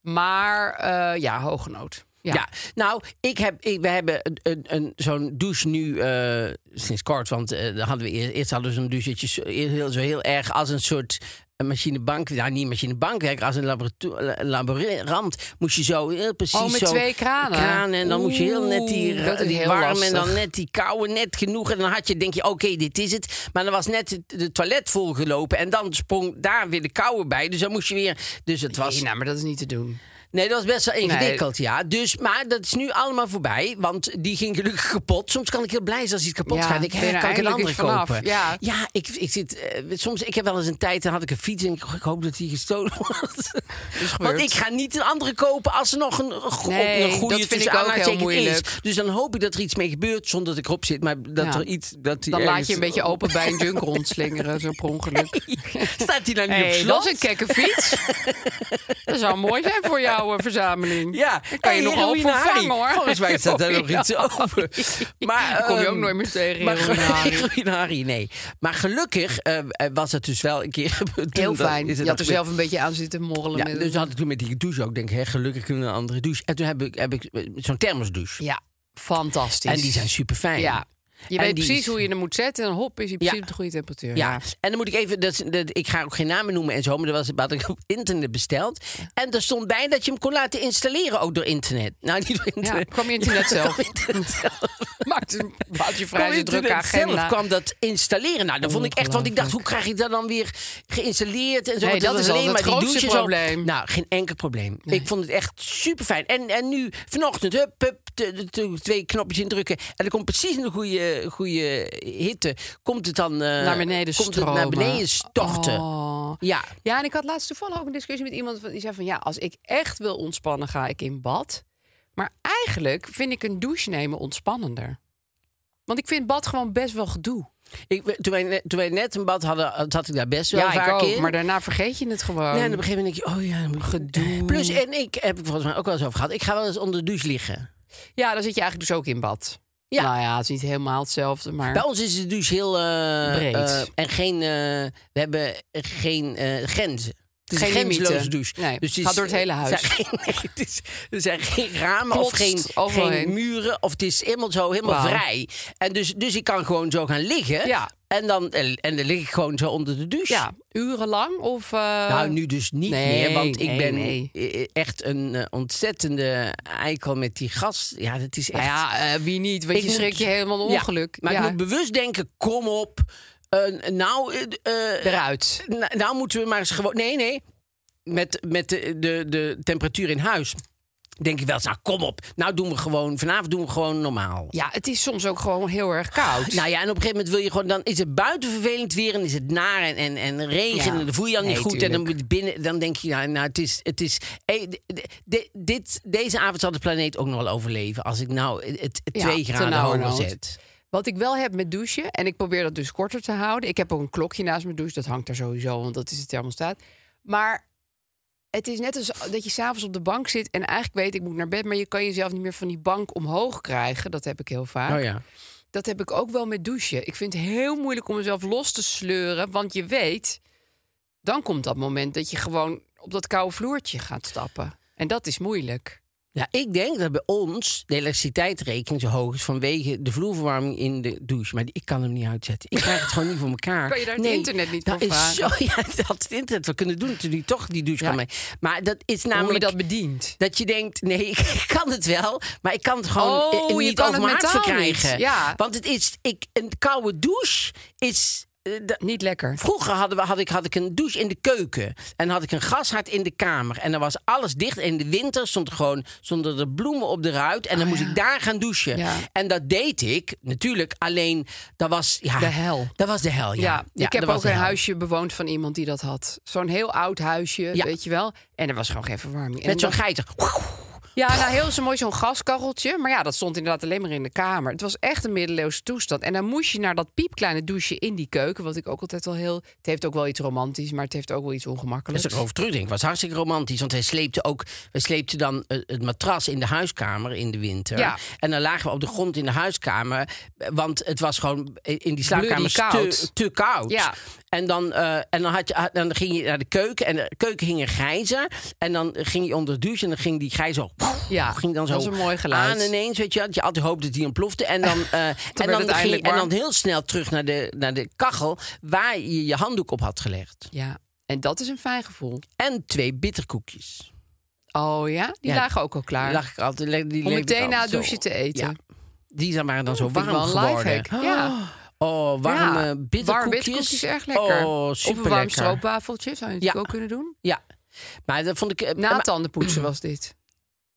Maar eh ja, hooggenoot. Ja.
Ja. nou, ik heb, ik, we hebben een, een, een- zo'n douche nu eh, sinds kort. Want eh, dan hadden we eerst, eerst hadden we zo'n douche dat je zo heel, zo heel erg als een soort een machinebank, nou niet machinebankwerk, als een laborato- la- laborant moest je zo heel precies
Oh, met
zo
twee kranen.
en dan moest je heel net die,
Oeh,
ra-
dat is
die
heel
warm en
lastig.
dan net die koude net genoeg en dan had je denk je oké dit is het, maar dan was net het de toilet volgelopen en dan sprong daar weer de koude bij, dus dan moest je weer, dus het was
Nee, nou, maar dat is niet te doen.
Nee, dat was best wel ingewikkeld, ja. Dus, maar dat is nu allemaal voorbij, want die ging gelukkig kapot. Soms kan ik heel blij zijn als iets kapot
Ja,
gaat. Dan denk Ik,
ben je
hè,
er
kan ik een andere
eindelijk
kopen?
eens vanaf, ja.
ik, ik zit eh, soms. Ik heb wel eens een tijd, dan had ik een fiets en ik, ik hoop dat die gestolen wordt. Want
gebeurd.
ik ga niet een andere kopen als er nog een, een go-
Nee,
een goede
dat vind ik
tussen
ook heel
aanhalingstekens
moeilijk.
is. Dus dan hoop ik dat er iets mee gebeurt zonder dat ik erop zit, maar dat
Ja.
er iets. Dat die
Dan laat
ergens-
je een beetje open bij een junk rondslingeren, zo per ongeluk.
Staat die nou niet op
Hey,
slot?
dat is een kekke fiets. dat zou mooi zijn voor jouw eh, verzameling.
Ja,
Dan kan je
Hey,
nog half
heroïne,
vervangen
Harry.
hoor.
Volgens mij staat daar nog
Heroïne.
iets over. Maar,
Dan kom je
ehm,
ook nooit meer tegen.
Maar
heroïne, Harry.
gelukkig, Harry, nee. Maar gelukkig eh, was het dus wel een keer gebeurd.
Heel
Toen dat-
fijn.
is het
Je had er
ook
zelf een beetje aan zitten morrelen.
weer- Ja,
met
dus had ik toen met die douche ook, denk ik, hè, gelukkig kunnen we een andere douche. En toen heb ik, heb ik eh, zo'n thermosdouche.
ja fantastisch.
en die zijn super fijn.
Ja. Je
En
weet
die
precies
is-
hoe je hem moet zetten. En hop, is hij precies
Ja.
op de goede temperatuur.
Ja, en dan moet ik even, dat, is- dat, ik ga ook geen namen noemen en zo, maar dat was, had ik op internet besteld. En er stond bij dat je hem kon laten installeren ook door internet. Nou, niet door
Ja,
internet.
kwam je internet zelf.
Door internet zelf.
Maakt een had je
Kom
vrij zijn drukke
internet zelf
agenda.
kwam dat installeren. Nou, dat vond ik echt, want ik dacht, hoe krijg ik dat dan weer geïnstalleerd en zo?
Nee,
Want het
dat is
was
altijd het
die
grootste
douche en zo.
probleem.
Nou, geen enkel probleem. Ik vond het echt super fijn. En, en nu vanochtend, hup, hup, te- te- te- twee knopjes indrukken en dan komt precies in de goede, goede hitte, komt het dan eh,
Naar beneden
komt het naar
stromen.
beneden storten.
Oh.
Ja.
Ja, en ik had laatst toevallig ook een discussie met iemand van- die zei van ja, als ik echt wil ontspannen, ga ik in bad. Maar eigenlijk vind ik een douche nemen ontspannender. Want ik vind bad gewoon best wel gedoe.
Ik, toen, wij, net- toen wij net een bad hadden, zat ik daar best wel vaak in.
maar daarna vergeet je het gewoon.
Nee, en op een gegeven moment denk je, oh ja, dan moet ik-
Gedoe.
Plus, en ik heb het volgens mij ook wel eens over gehad. Ik ga wel eens onder de douche liggen.
Ja, dan zit je eigenlijk dus ook in bad.
Ja.
Nou ja, het is niet helemaal hetzelfde, maar...
Bij ons is de douche heel eh,
Breed.
eh, en geen, eh, we hebben geen eh, grenzen. Het is
Geen Dus
geen een grenzeloze
limieten.
douche.
Nee,
het eh,
gaat door het hele huis.
Er zijn geen, nee, het is- er zijn geen ramen of
Klotst
geen,
overal heen.
geen muren. Of het is helemaal zo, helemaal
Wauw.
vrij. En dus, dus ik kan gewoon zo gaan liggen.
Ja.
En, dan, en, en dan lig ik gewoon zo onder de douche.
Ja, urenlang of... eh,
Nou, nu dus niet
nee,
meer, want ik
nee,
ben
nee.
eh, echt een eh, ontzettende eikel met die gas. Ja, dat is echt...
Nou ja, eh, wie niet? Want
Ik
je
moet-
schrik je helemaal een
Ja,
ongeluk.
maar
Ja,
ik moet bewust denken, kom op. eh, nou, eh, eh,
eruit.
nou, nou moeten we maar eens gewoon... Nee, nee. Met, met de, de, de temperatuur in huis denk ik wel eens, nou kom op. Nou doen we gewoon, vanavond doen we gewoon normaal.
Ja, het is soms ook gewoon heel erg koud.
Nou ja, en op een gegeven moment wil je gewoon, dan is het buiten vervelend weer en is het naar en, en, en regen
Ja.
en dan voel je je al niet
Nee,
goed. En dan
tuurlijk.
moet je binnen, dan denk je, nou, nou het is, het is hey, d- d- d- dit, deze avond zal de planeet ook nog wel overleven. Als ik nou het, het
Ja,
twee graden hoger
ternauwernood.
zet.
Wat ik wel heb met douchen, en ik probeer dat dus korter te houden. Ik heb ook een klokje naast mijn douche, dat hangt daar sowieso, want dat is de thermostaat. Maar het is net als dat je s'avonds op de bank zit en eigenlijk weet ik moet naar bed, maar je kan jezelf niet meer van die bank omhoog krijgen. Dat heb ik heel vaak.
Oh ja.
Dat heb ik ook wel met douchen. Ik vind het heel moeilijk om mezelf los te sleuren, want je weet, dan komt dat moment dat je gewoon op dat koude vloertje gaat stappen. En dat is moeilijk.
Ja, ik denk dat bij ons de elektriciteitsrekening zo hoog is vanwege de vloerverwarming in de douche. Maar die- ik kan hem niet uitzetten. Ik krijg het gewoon niet voor elkaar.
Kan je daar het internet niet
dat
voor
is
vragen?
Zo, ja, dat had het internet wel kunnen doen. Natuurlijk toch die douche
Ja.
kan mee. Maar dat is namelijk...
Hoe je dat bedient.
Dat je denkt, nee, ik kan het wel, maar ik kan het gewoon
Oh,
eh,
je
niet
kan
over
het
mijn hart
mentaal
verkrijgen.
niet, ja.
Want het is, ik, een koude douche is... eh, da-
Niet lekker.
Vroeger hadden we, had, ik, had ik een douche in de keuken. En had ik een gashard in de kamer. En dan was alles dicht. En in de winter stond er gewoon stonden er bloemen op de ruit. En dan moest ik daar gaan douchen.
Ah, Ja.
En dat deed ik natuurlijk. Alleen, dat was... Ja,
De hel.
Dat was de hel, ja.
Ja, ik
dat
heb
was
ook
de
een
hel.
huisje bewoond van iemand die dat had. Zo'n heel oud huisje,
Ja.
weet je wel. En er was gewoon geen verwarming. En
Met zo'n
dan-
geiter.
Ja, nou heel zo mooi zo'n gaskacheltje. Maar ja, dat stond inderdaad alleen maar in de kamer. Het was echt een middeleeuwse toestand. En dan moest je naar dat piepkleine douche in die keuken. Wat ik ook altijd wel heel... Het heeft ook wel iets romantisch, maar het heeft ook wel iets
Als
ongemakkelijks.
ik erover terugdenk, was hartstikke romantisch. Want hij sleepte ook, wij sleepten dan eh, het matras in de huiskamer in de winter.
Ja.
En dan lagen we op de grond in de huiskamer. eh, Want het was gewoon eh, in die slaapkamer
Bloody
te,
koud.
te koud.
Ja.
En, dan, eh, en dan, had je, had- dan ging je naar de keuken. En de keuken ging een grijzer. En dan ging je onder de douche. En dan ging die grijzer zo...
Ja,
oh, ging dan zo
Ah, dat is een mooi geluid.
aan ineens. Weet je, wel. dat je altijd hoopte dat die ontplofte. En dan, eh, en
het
dan, ging,
eindelijk
en
warm.
dan heel snel terug naar de, naar de kachel... waar je je handdoek op had gelegd.
Ja, en dat is een fijn gevoel.
En twee bitterkoekjes.
Oh ja, die
Ja,
lagen ook al klaar.
Lag ik altijd, le- die
Om
leek
meteen
altijd
na het
zo.
douche te eten.
Ja. Die zijn waren dan zo
Oh, Vind ik
warm
wel een
geworden.
lifehack. Ja.
Oh, warme
Ja, warme
bitterkoekjes.
bitterkoekjes, erg lekker.
Oh,
of een
super
warm
lekker.
stroopwafeltje, zou je
Ja.
natuurlijk ook kunnen doen.
Ja. Maar dat vond ik... eh,
Na
maar-
tandenpoetsen was dit.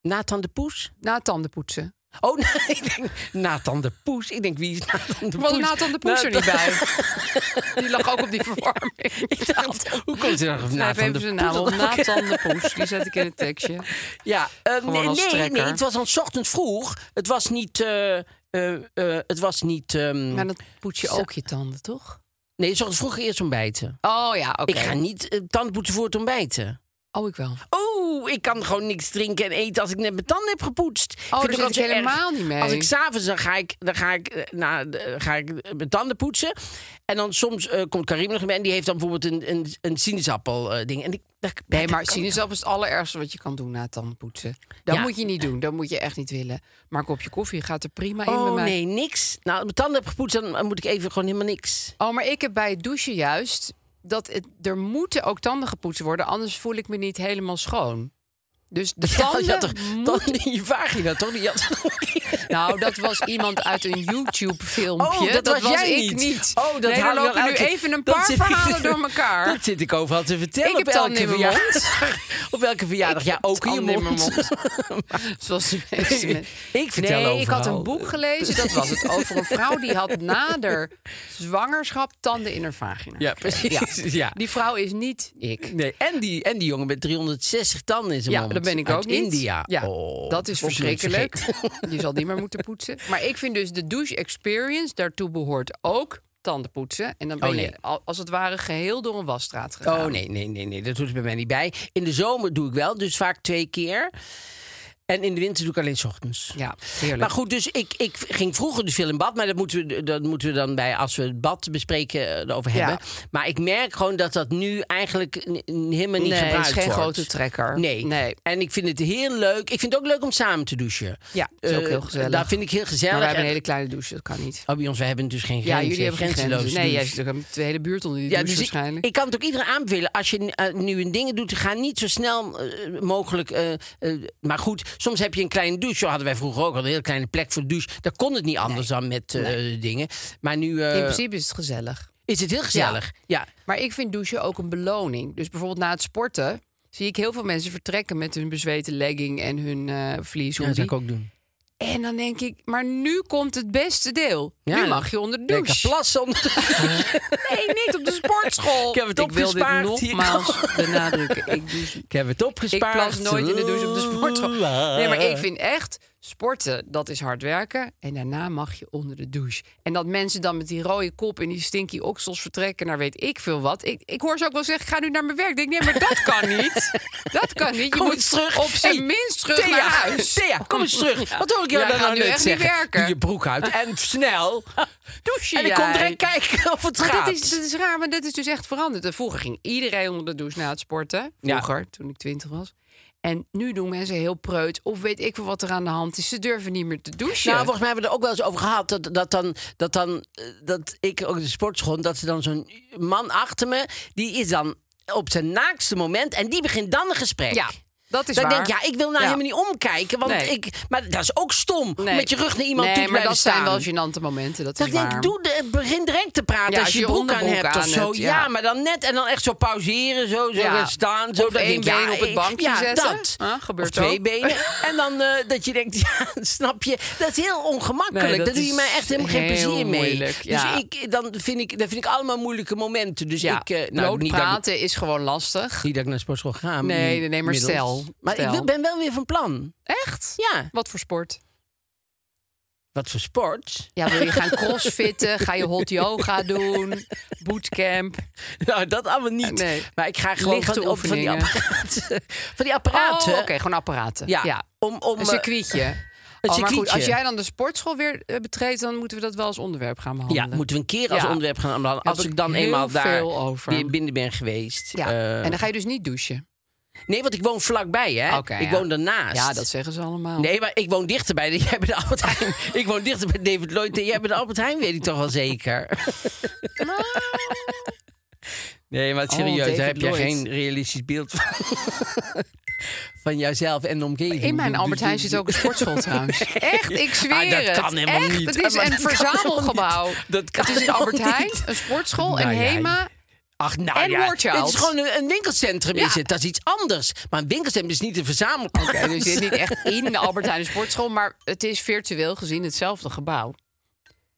Nathan de Poes?
Na tandenpoetsen.
Oh, nee, ik denk Nathan de Poes. Ik denk, wie is Nathan de
Er
Poes? Nou,
was Nathan de Poes er niet bij. Die lag ook op die verwarming.
Ik dacht, hoe komt ze dan op
Schrijf
Nathan
even
de
zijn
Poes?
naam op. Nathan de Poes. Die zet ik in het tekstje.
Ja, eh,
Gewoon
nee,
als
nee, nee,
trekker.
het was dan 's ochtends vroeg. Het was niet... eh, eh, eh, het was niet... ehm,
Maar dan poets je ook je tanden, toch?
Nee, 's ochtends vroeg eerst ontbijten.
Oh ja, oké.
Ik ga niet eh, tandpoetsen voor het ontbijten.
Oh, ik wel.
Oh, ik kan gewoon niks drinken en eten als ik net mijn tanden heb gepoetst.
Oh, daar
Vind ik
zit ik
altijd erg.
helemaal niet mee.
Als ik s'avonds, dan ga ik, dan ga ik, eh, na, de- ga ik eh, mijn tanden poetsen. En dan soms eh, komt Karim nog mee en die heeft dan bijvoorbeeld een, een, een sinaasappel eh, ding. En ik, dat-
Nee,
dat
maar
kan-
sinaasappel is het allerergste wat je kan doen na tandenpoetsen. Dat
Ja.
moet je niet doen. Dat moet je echt niet willen. Maar een kopje koffie gaat er prima in bij
Oh
mij.
nee, niks. Nou, als ik mijn tanden heb gepoetst, dan eh, moet ik even gewoon helemaal niks.
Oh, maar ik heb bij het douchen juist dat het, er moeten ook tanden gepoetst worden, anders voel ik me niet helemaal schoon. Dus de tanden
je had toch
moeten-
tanden in je vagina, toch? Die had
Nou, dat was iemand uit een YouTube-filmpje.
Oh, dat was jij
ik
niet.
niet.
Oh, dat
nee,
haal ik
er
wel
lopen nu
uit.
even een
Dat
paar
zit-
verhalen door elkaar.
Dat zit ik overal te vertellen
Ik
op
heb tanden
elke
in mijn
verjaardag. Op elke verjaardag, ja, ook in je
Tanden
mond.
in mijn mond. Zoals de meeste mensen.
Ik vertel
nee, ik had
overal.
een boek gelezen, dat was het, over een vrouw die had nader zwangerschap tanden in haar vagina.
Ja,
gekregen.
precies, ja.
Die vrouw is niet ik.
Nee, en die, en die jongen met 360 tanden in zijn
Ja,
mond.
dat ben ik
Uit
ook niet.
India.
Ja,
Oh,
dat is
ook nooit
verschrikkelijk.
vergeten.
Je zal die niet meer moeten poetsen. Maar ik vind dus de douche experience, daartoe behoort ook tanden poetsen. En dan ben
Oh, nee.
je al- als het ware geheel door een wasstraat gegaan.
Oh nee, nee, nee, nee, dat doet het bij mij niet bij. In de zomer doe ik wel, dus vaak twee keer. En in de winter doe ik alleen 's ochtends.
Ja, heerlijk.
Maar goed, dus ik, ik ging vroeger dus veel in bad. Maar dat moeten, we, dat moeten we dan bij, als we het bad bespreken, eh, over hebben. Maar ik merk gewoon dat dat nu eigenlijk n- n- helemaal niet
nee,
gebruikt
het is geen
wordt.
grote trekker.
Nee.
nee.
En ik vind het heel leuk. Ik vind het ook leuk om samen te douchen.
Ja, het is ook
Eh,
heel gezellig.
Dat vind ik heel gezellig.
Maar wij hebben
En-
een hele kleine douche, dat kan niet.
Oh, bij ons, wij hebben dus geen
Ja,
grenzen,
jullie hebben geen
grenzeloze
grenzen. Nee, jij
douche.
zit ook de hele buurt onder die
Ja,
douche
dus ik,
waarschijnlijk.
ik kan het ook iedereen aanbevelen. Als je eh, nu een dingen doet, ga niet zo snel eh, mogelijk. eh, eh, maar goed, soms heb je een kleine douche. Zo hadden wij vroeger ook al een hele kleine plek voor de douche. Daar kon het niet anders dan met eh, dingen. Maar nu eh,
In principe is het gezellig.
is het heel gezellig. Ja,
Maar ik vind douchen ook een beloning. Dus bijvoorbeeld na het sporten zie ik heel veel mensen vertrekken met hun bezweten legging en hun eh vlies.
ja dat zou ik ook doen.
En dan denk ik, maar nu komt het beste deel.
Ja,
nu mag je onder de
Lekker
douche.
plassen. onder de-
Nee, niet op de sportschool.
Ik heb het
wil dit
opgespaard.
nogmaals benadrukken. Ik, douche-
Ik heb het
ik
opgespaard. ah.
plas nooit in de douche op de sportschool. Nee, maar ik vind echt, sporten, dat is hard werken. En daarna mag je onder de douche. En dat mensen dan met die rode kop en die stinky oksels vertrekken naar weet ik veel wat. Ik, ik hoor ze ook wel zeggen, ga nu naar mijn werk. Ik denk, nee, maar dat kan niet. Dat kan niet. Je
Kom
moet
eens terug.
op zijn
Hey,
minst terug
Thea,
naar huis.
Thea, kom eens terug.
Ja.
Wat hoor ik jou
Jij
dan
gaat
nou
nu
net
echt niet
zeggen?
werken.
Doe je broek uit en snel.
Douche
En ik kom direct kijken of het
Maar
gaat.
dat is, dat is raar, maar dat is dus echt veranderd. En Vroeger ging iedereen onder de douche na het sporten.
Ja.
Vroeger, toen ik twintig was. En nu doen mensen heel preut. Of weet ik veel wat er aan de hand is. Ze durven niet meer te douchen.
Nou, volgens mij hebben we er ook wel eens over gehad. Dat, dat dan, dat dan, eh, dat ik ook de sportschool, dat ze dan zo'n man achter me, die is dan op zijn naakste moment en die begint dan een gesprek.
ja, dat is
Dan
waar.
denk ik, ja, ik wil nou
Ja.
helemaal niet omkijken. Want
Nee.
ik, maar dat is ook stom. om
Nee.
Met je rug naar iemand
nee,
toe te
maar
blijven
dat
staan.
zijn wel gênante momenten. Dat
dat
is
ik
waar.
denk, doe de, begin direct te praten
Ja,
als
als
je
je
je broek aan
onderbroek
hebt of
aan
zo.
hebt,
ja.
ja.
maar dan net en dan echt zo pauzeren, zo, zo
Ja.
gaan staan. Zo,
Of
dat
één
denk, ik, ja,
been op het
ik-
bankje
ja,
zetten.
Dat.
Huh, gebeurt
of twee
ook.
benen. En dan eh, dat je denkt, ja, snap je, dat is heel ongemakkelijk.
Nee,
dat
dat
Daar doe je
is
mij echt helemaal geen
heel
plezier mee.
moeilijk, ja.
Dus ik, dan vind ik, dat vind ik allemaal moeilijke momenten. Dus
ja,
ik, eh, nou, niet dat, ik-
praten is gewoon lastig.
niet dat ik naar de sportschool ga.
Nee, nee, nee, maar
inmiddels.
stel,
Maar ik
stel.
wil- ben wel weer van plan.
Echt?
Ja,
Wat voor sport?
wat voor sport.
Ja, wil je gaan crossfitten? ga je hot yoga doen? Bootcamp?
Nou, dat allemaal niet.
Nee.
Maar ik ga gewoon
Lichte
van, op- van die
oefeningen.
apparaten. Van die
Oh,
apparaten.
oké, gewoon apparaten.
Ja,
ja.
Om, om,
Een
eh,
circuitje. Oh, maar goed,
circuitje.
als jij dan de sportschool weer eh, betreedt, dan moeten we dat wel als onderwerp gaan behandelen.
ja, moeten we een keer als
Ja.
onderwerp gaan aanbehandelen.
Heb
Als
ik
ik dan
heel
eenmaal daar
veel over.
weer binnen ben geweest.
Ja,
Eh,
en dan ga je dus niet douchen.
Nee, want ik woon vlakbij, hè.
Oké,
ik
ja.
woon daarnaast.
Ja, dat zeggen ze allemaal.
Nee, maar ik woon dichterbij dan jij bij de Albert Heijn. ik woon dichter bij David Lloyd dan jij bij de Albert Heijn, weet ik toch wel zeker. Nee, maar serieus,
David
daar heb je
Lloyd.
geen realistisch beeld van. van jouzelf en de omgeving. Dus
In mijn Albert Heijn zit ook een sportschool trouwens. Echt, ik zweer
Ah, dat
het.
kan helemaal
Echt,
niet.
Het is
Maar
een
dat kan helemaal
verzamelgebouw.
niet. Dat kan
het is een
helemaal
Albert Heijn,
niet.
een sportschool,
Nou
en
ja,
HEMA.
Ach, nou
En
ja,
Warchild.
het is gewoon een, een winkelcentrum is
Ja.
het. Dat is iets anders. Maar een winkelcentrum is niet een verzamelplaats.
Oké, dus dit is niet echt in de Albert Heijn een sportschool, maar het is virtueel gezien hetzelfde gebouw.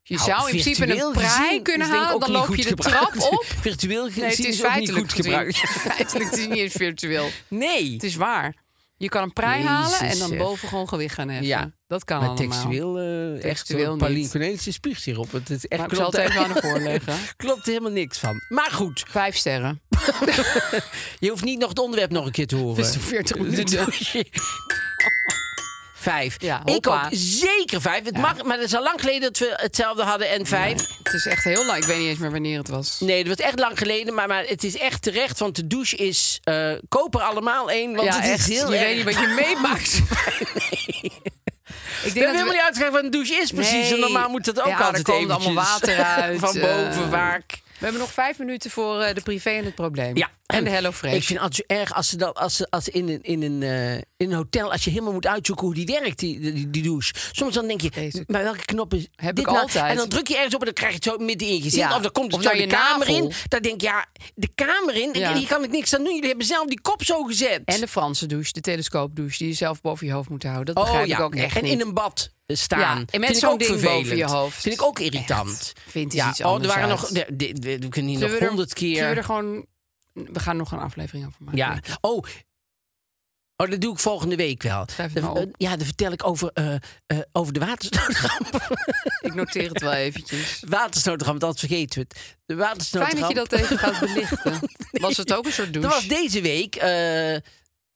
Je
Nou,
zou in principe
virtueel
een prei
gezien
kunnen
is denk ik
halen,
ook
dan
niet
loop
goed
je de
gebruikt.
trap op.
Virtueel gezien
Nee, het is,
is, ook niet
feitelijk
goed gebruikt.
Feitelijk het is niet eens virtueel.
Nee.
Het is waar. Je kan een prei
Jezus,
halen en dan
zeg.
boven gewoon gewicht gaan heffen.
Ja.
Ja. Dat kan
Maar
allemaal.
textueel, eh, echt
Textueel
hoor, Paulien
niet.
Cornelissen spuugt hierop. Het is echt
Maar ik zal het even aan hem voorleggen.
klopt er helemaal niks van. Maar goed,
Vijf sterren.
je hoeft niet nog het onderwerp nog een keer te horen.
Dus 40
De
minuten.
douche. Vijf.
Ja,
ik
hoppa.
ook zeker vijf. Het mag, maar het is al lang geleden dat we hetzelfde hadden en vijf.
Het is echt heel lang. Ik weet niet eens meer wanneer het was.
Nee, dat was echt lang geleden. Maar, maar het is echt terecht. Want de douche is... eh koop er allemaal één. Want
ja,
het
echt.
is heel
je
erg.
weet niet wat je meemaakt. Ik
We
denk
hebben helemaal
we-
niet uitgelegd wat een douche is precies. En
Nee.
normaal moet dat ook
Ja, er
altijd
komt allemaal
eventjes.
water uit,
Van boven
eh.
vaak.
we hebben nog vijf minuten voor eh, de privé en het probleem.
Ja.
En de Hello Fresh.
Ik vind het altijd zo erg als ze dan als ze, als ze in, een, in, een, eh, in een hotel, als je helemaal moet uitzoeken hoe die werkt, die, die, die douche. Soms dan denk je,
Vreselijk.
maar welke knop is
Heb
dit
ik
nou?
altijd.
En dan druk je ergens op en dan krijg je het zo midden in je gezicht.
Ja.
Of dan komt het
Of
zo
naar
de
je
kamer
navel.
in. Dan denk je, ja, de kamer in,
Ja.
hier kan ik niks aan doen. Jullie hebben zelf die kop zo gezet.
En de Franse douche, de telescoopdouche, die je zelf boven je hoofd moet houden. Dat
Oh
begrijp
ja,
ik ook echt
en
niet.
in een bad eh, staan.
Ja, en met
Vind ik
zo'n
ook
ding boven
vervelend.
je hoofd.
Vind ik ook irritant.
Vind eens
Ja,
iets
oh, er
anders
waren
uit.
nog, de- de- de- we kunnen hier
Zullen we
nog
er-
honderd keer.
Zullen we er gewoon... We gaan nog een aflevering over maken.
Ja. Oh, Oh, dat doe ik volgende week wel.
Schrijf het
Dan-
maar op.
eh, ja, dan vertel ik over, eh, eh, over de watersnoodramp.
Ik noteer het wel eventjes.
watersnoodramp, want anders vergeten we het. De watersnoodramp.
Fijn dat je dat even gaat belichten. Was het ook een soort douche?
Dat was deze week, eh,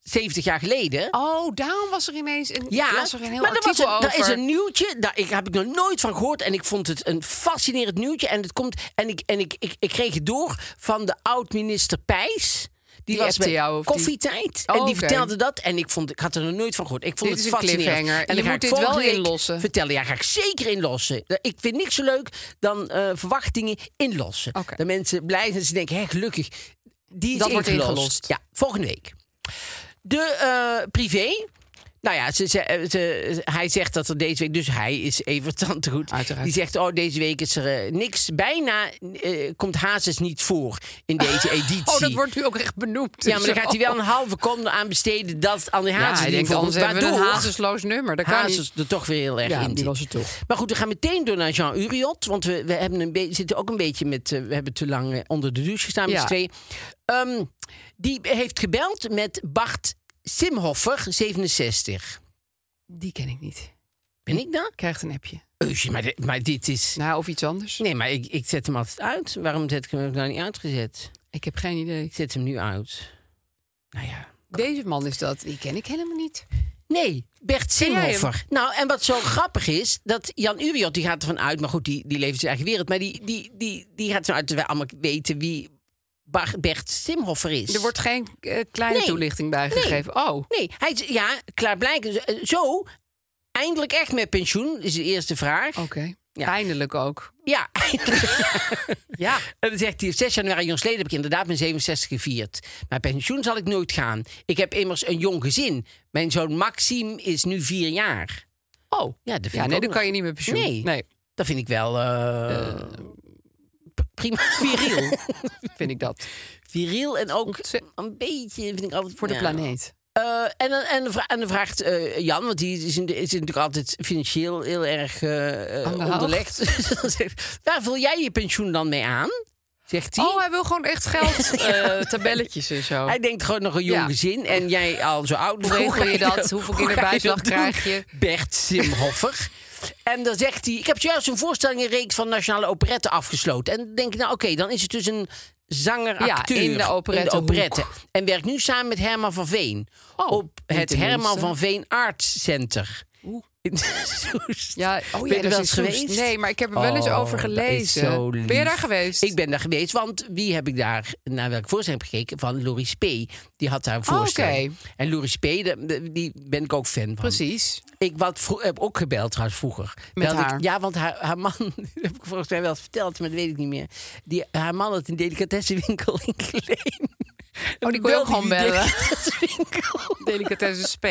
70 jaar geleden.
Oh, daarom was er ineens een,
Ja,
was er een heel
maar er was
artikel
een- er
over.
is een nieuwtje, daar ik, heb ik nog nooit van gehoord. En ik vond het een fascinerend nieuwtje. En, het komt, en, ik, en ik, ik, ik kreeg het door van de oud-minister Pijs. Die,
Die
was
appte
bij
jou, of die-
koffietijd.
Oh,
en die
oké.
vertelde dat. En ik, vond, ik had er nog nooit van gehoord. Ik vond
Dit
het
is een
fascinerend.
cliffhanger.
En
Je
dan ga
moet
ik
dit wel
volgende week
inlossen.
Vertellen. Ja, ga ik zeker inlossen. Ik vind niks zo leuk dan eh, verwachtingen inlossen.
Oké.
Dat mensen blij zijn. dat Ze denken, hé, gelukkig. Die is
Dat wordt
ingelost.
ingelost.
Ja, volgende week. De eh, privé. Nou ja, ze, ze- eh, ze- hij zegt dat er deze week... Dus hij is even goed.
Uiteraard.
Die zegt, oh, deze week is er eh, niks. Bijna eh, komt Hazes niet voor in deze editie.
Oh, dat wordt nu ook echt benoemd.
Ja, maar dan gaat hij wel een halve kom aan besteden... dat Annie
Ja,
Hazes
hij
niet
denkt,
voor
anders
komt.
hebben we een
Waardoor
hazesloos nummer. Dat kan niet.
Hazes er toch weer heel erg
Ja,
in
die
zit.
was het toch.
Maar goed, we gaan meteen door naar Jean Uriot. Want we, we hebben een beetje- zitten ook een beetje met... eh, we hebben te lang eh, onder de douche gestaan met
Ja.
z'n tweeën. Ehm, die heeft gebeld met Bart Simhoffer, 67.
Die ken ik niet.
Ben ik dat?
Krijgt een appje.
Eusje, maar, dit- maar dit is...
Nou, of iets anders.
Nee, maar ik, ik zet hem altijd uit. Waarom zet ik hem nou niet uitgezet?
Ik heb geen idee.
Ik zet hem nu uit. Nou ja.
Deze man is dat. Die ken ik helemaal niet.
Nee, Bert
jij
Simhoffer. Nou, en wat zo grappig is, dat Jan Uriot, die gaat ervan uit... maar goed, die, die leeft in zijn eigen wereld... maar die, die, die, die gaat ervan uit dat wij allemaal weten wie Bar- Bert Simhoffer is.
Er wordt geen eh, kleine
Nee.
toelichting bij
Nee.
gegeven. Oh,
Nee, hij is, ja, klaarblijkelijk. Zo, eindelijk echt met pensioen, is de eerste vraag.
oké. Eindelijk ook.
Ja,
Ja.
En dan zegt hij, 6 januari jongsleden heb ik inderdaad mijn 67 gevierd. Mijn pensioen zal ik nooit gaan. Ik heb immers een jong gezin. Mijn zoon Maxime is nu vier jaar.
Oh.
Ja, dat vind
Ja,
ik
nee,
ook
dan
nog-
kan je niet meer pensioen.
Nee. Dat vind ik wel... eh, p- prima.
Viriel vind ik dat.
Viriel en ook
Ontze-
een beetje, vind ik altijd...
Voor de
ja.
planeet.
Eh, en, dan, en, dan vra- en dan vraagt eh, Jan, want die is, in de- is natuurlijk altijd financieel heel erg eh, eh,
Aan de hand.
onderlegd. Dus dan zegt, Waar vul jij je pensioen dan mee aan? Zegt hij.
Oh, hij wil gewoon echt geld. eh, tabelletjes en zo.
Hij denkt gewoon nog een jong
Ja.
gezin. En jij al zo oud.
Hoe regel
ga
je dat? Hoeveel
hoe ga je
kinderbijslag
dat doen?
krijg je?
Bert Simhoffer. en dan zegt hij... Ik heb juist een voorstellingenreeks van Nationale Operette afgesloten. En dan denk ik, nou oké, dan is het dus een
Ja,
zanger-acteur.
in de operettehoek.
En werkt nu samen met Herman van Veen.
Oh,
op
niet
het
de
Herman
minste.
van Veen Arts Center. In Soest.
Ja,
Ben
oh
je er
ja, dat
wel
is
eens
in Soest.
geweest?
Nee, maar ik heb er wel eens
Oh,
over
dat is
gelezen.
zo
Ben je
lief.
daar geweest?
Ik ben daar geweest, want wie heb ik daar naar welke voorstelling heb gekeken? Van Loris P. Die had daar een
Oh,
voorstelling. En Loris P. de- de- die ben ik ook fan van.
Precies.
Ik wat vro- eh, heb ook gebeld trouwens vroeger.
Met
Belde ik-
haar?
ja, want haar, haar man, dat heb ik volgens mij wel eens verteld, maar dat weet ik niet meer. Die, haar man had een delicatessenwinkel in Geleen.
Oh, die kon je ook gewoon bellen.
Delicatessenwinkel.
Delicatessen sp.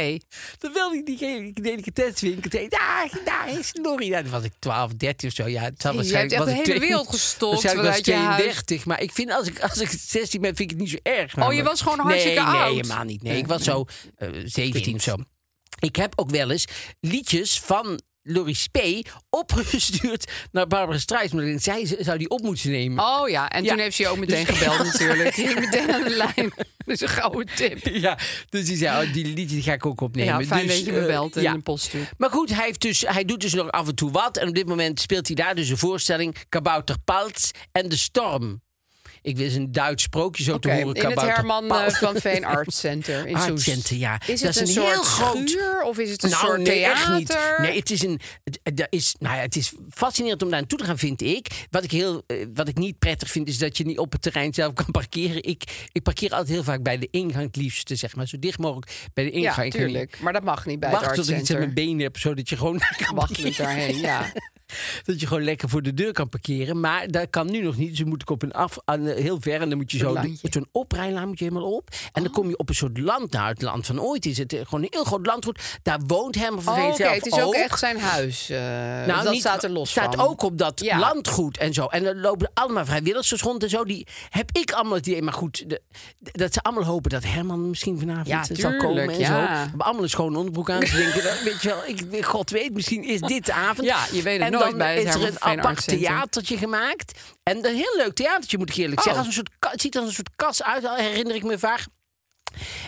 Dan belde ik die delicatessenwinkel. Zei, Daar, daar is Lori. Ja, toen was ik 12, 13 of zo. Ja, het zal
Je
waarschijnlijk...
hebt echt
was
de
ik
hele
twee-
wereld gestopt
waarschijnlijk was ik
vanuit je huis.
32. Maar ik vind, als ik, als ik 16 ben, vind ik het niet zo erg.
Oh, je was gewoon hartstikke
nee,
oud.
Nee, helemaal niet. Nee, ik was zo eh, 17 of zo. Ik heb ook wel eens liedjes van... Loris P. opgestuurd naar Barbara Streisand. En zij ze- zou die op moeten nemen.
Oh ja, en
Ja.
toen heeft ze je ook meteen
Dus-
gebeld natuurlijk. Die ging meteen aan de lijn. Dat is een gouden tip.
Ja, dus die zei, oh, die liedjes die ga ik ook opnemen.
Oh. Ja, fijn
Dus,
dat je
eh,
me belt en
ja.
een post stuurt.
Maar goed, hij, heeft dus, hij doet dus nog af en toe wat. En op dit moment speelt hij daar dus een voorstelling... Kabouter Palts en de Storm. Ik wist een Duits sprookje zo
Oké,
te horen.
in het
Kabouter
Herman eh,
Palts.
van Veen Arts Center in
Arts
Soest.
Center, ja.
Is
Dat
het
is
een,
een
soort
heel groot- Nou,
schuur of is het een soort
nee, echt
Nou,
niet.
theater?
Nee, het is een. het- het- dat is, nou ja, het is fascinerend om daar naartoe te gaan, vind ik. Wat ik, heel, eh, wat ik niet prettig vind, is dat je niet op het terrein zelf kan parkeren. Ik, ik parkeer altijd heel vaak bij de ingang, het liefst, zeg maar, zo dicht mogelijk bij de ingang.
ja,
Ik kan niet
tuurlijk. Maar dat mag niet bij het
Wacht
Arts
tot ik iets aan mijn
Center.
benen heb, zodat je gewoon kan
Wacht niet
parkeren.
daarheen, ja.
Dat je gewoon lekker voor de deur kan parkeren. Maar dat kan nu nog niet. Dus dan moet ik op een af, aan, eh, heel ver. En dan moet je zo
landje. Oh.
zo'n oprijlaan moet je helemaal op. En dan kom je op een soort land. Nou, het land van ooit is het. eh, Gewoon een heel groot landgoed. Daar woont hem van
Oh,
Veen
Oké,
zelf
het is ook, echt zijn huis. eh,
nou,
dat
niet-
staat er los
staat
van.
ook op dat
Ja.
landgoed en zo. En dan lopen allemaal vrijwilligers rond en zo. Die heb ik allemaal het idee. Maar goed, de- dat ze allemaal hopen dat Herman misschien vanavond eh,
Ja,
zal
tuurlijk,
komen en
ja.
zo. We hebben allemaal een schone onderbroek aan. Ze denken, dat, weet je wel, ik, god weet, misschien is dit de avond.
Ja, je weet het
en
nooit
dan
bij het
is er
Herman
een
Veen
apart
Arts Center.
theatertje gemaakt. En een heel leuk theatertje, moet ik eerlijk
Oh.
zeggen. Als een soort, ka- het ziet er als een soort kas uit, herinner ik me vaak.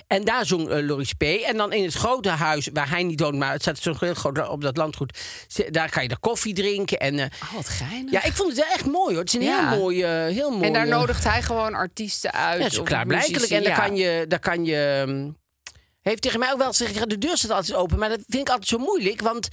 En daar zong eh, Loris P. En dan in het grote huis, waar hij niet woont, maar het staat zo'n heel groot op dat landgoed. ze- Daar kan je de koffie drinken. En, eh,
Oh, wat geinig.
ja, ik vond het wel echt mooi hoor. Het is een
Ja.
heel mooi. eh, heel mooi
en daar
eh,
nodigt hij gewoon artiesten uit.
Ja, zo
of
klaarblijkelijk.
muzici,
En dan
ja.
kan je. Dan kan je ehm, heeft tegen mij ook wel eens gezegd, ja, de deur staat altijd open. Maar dat vind ik altijd zo moeilijk. Want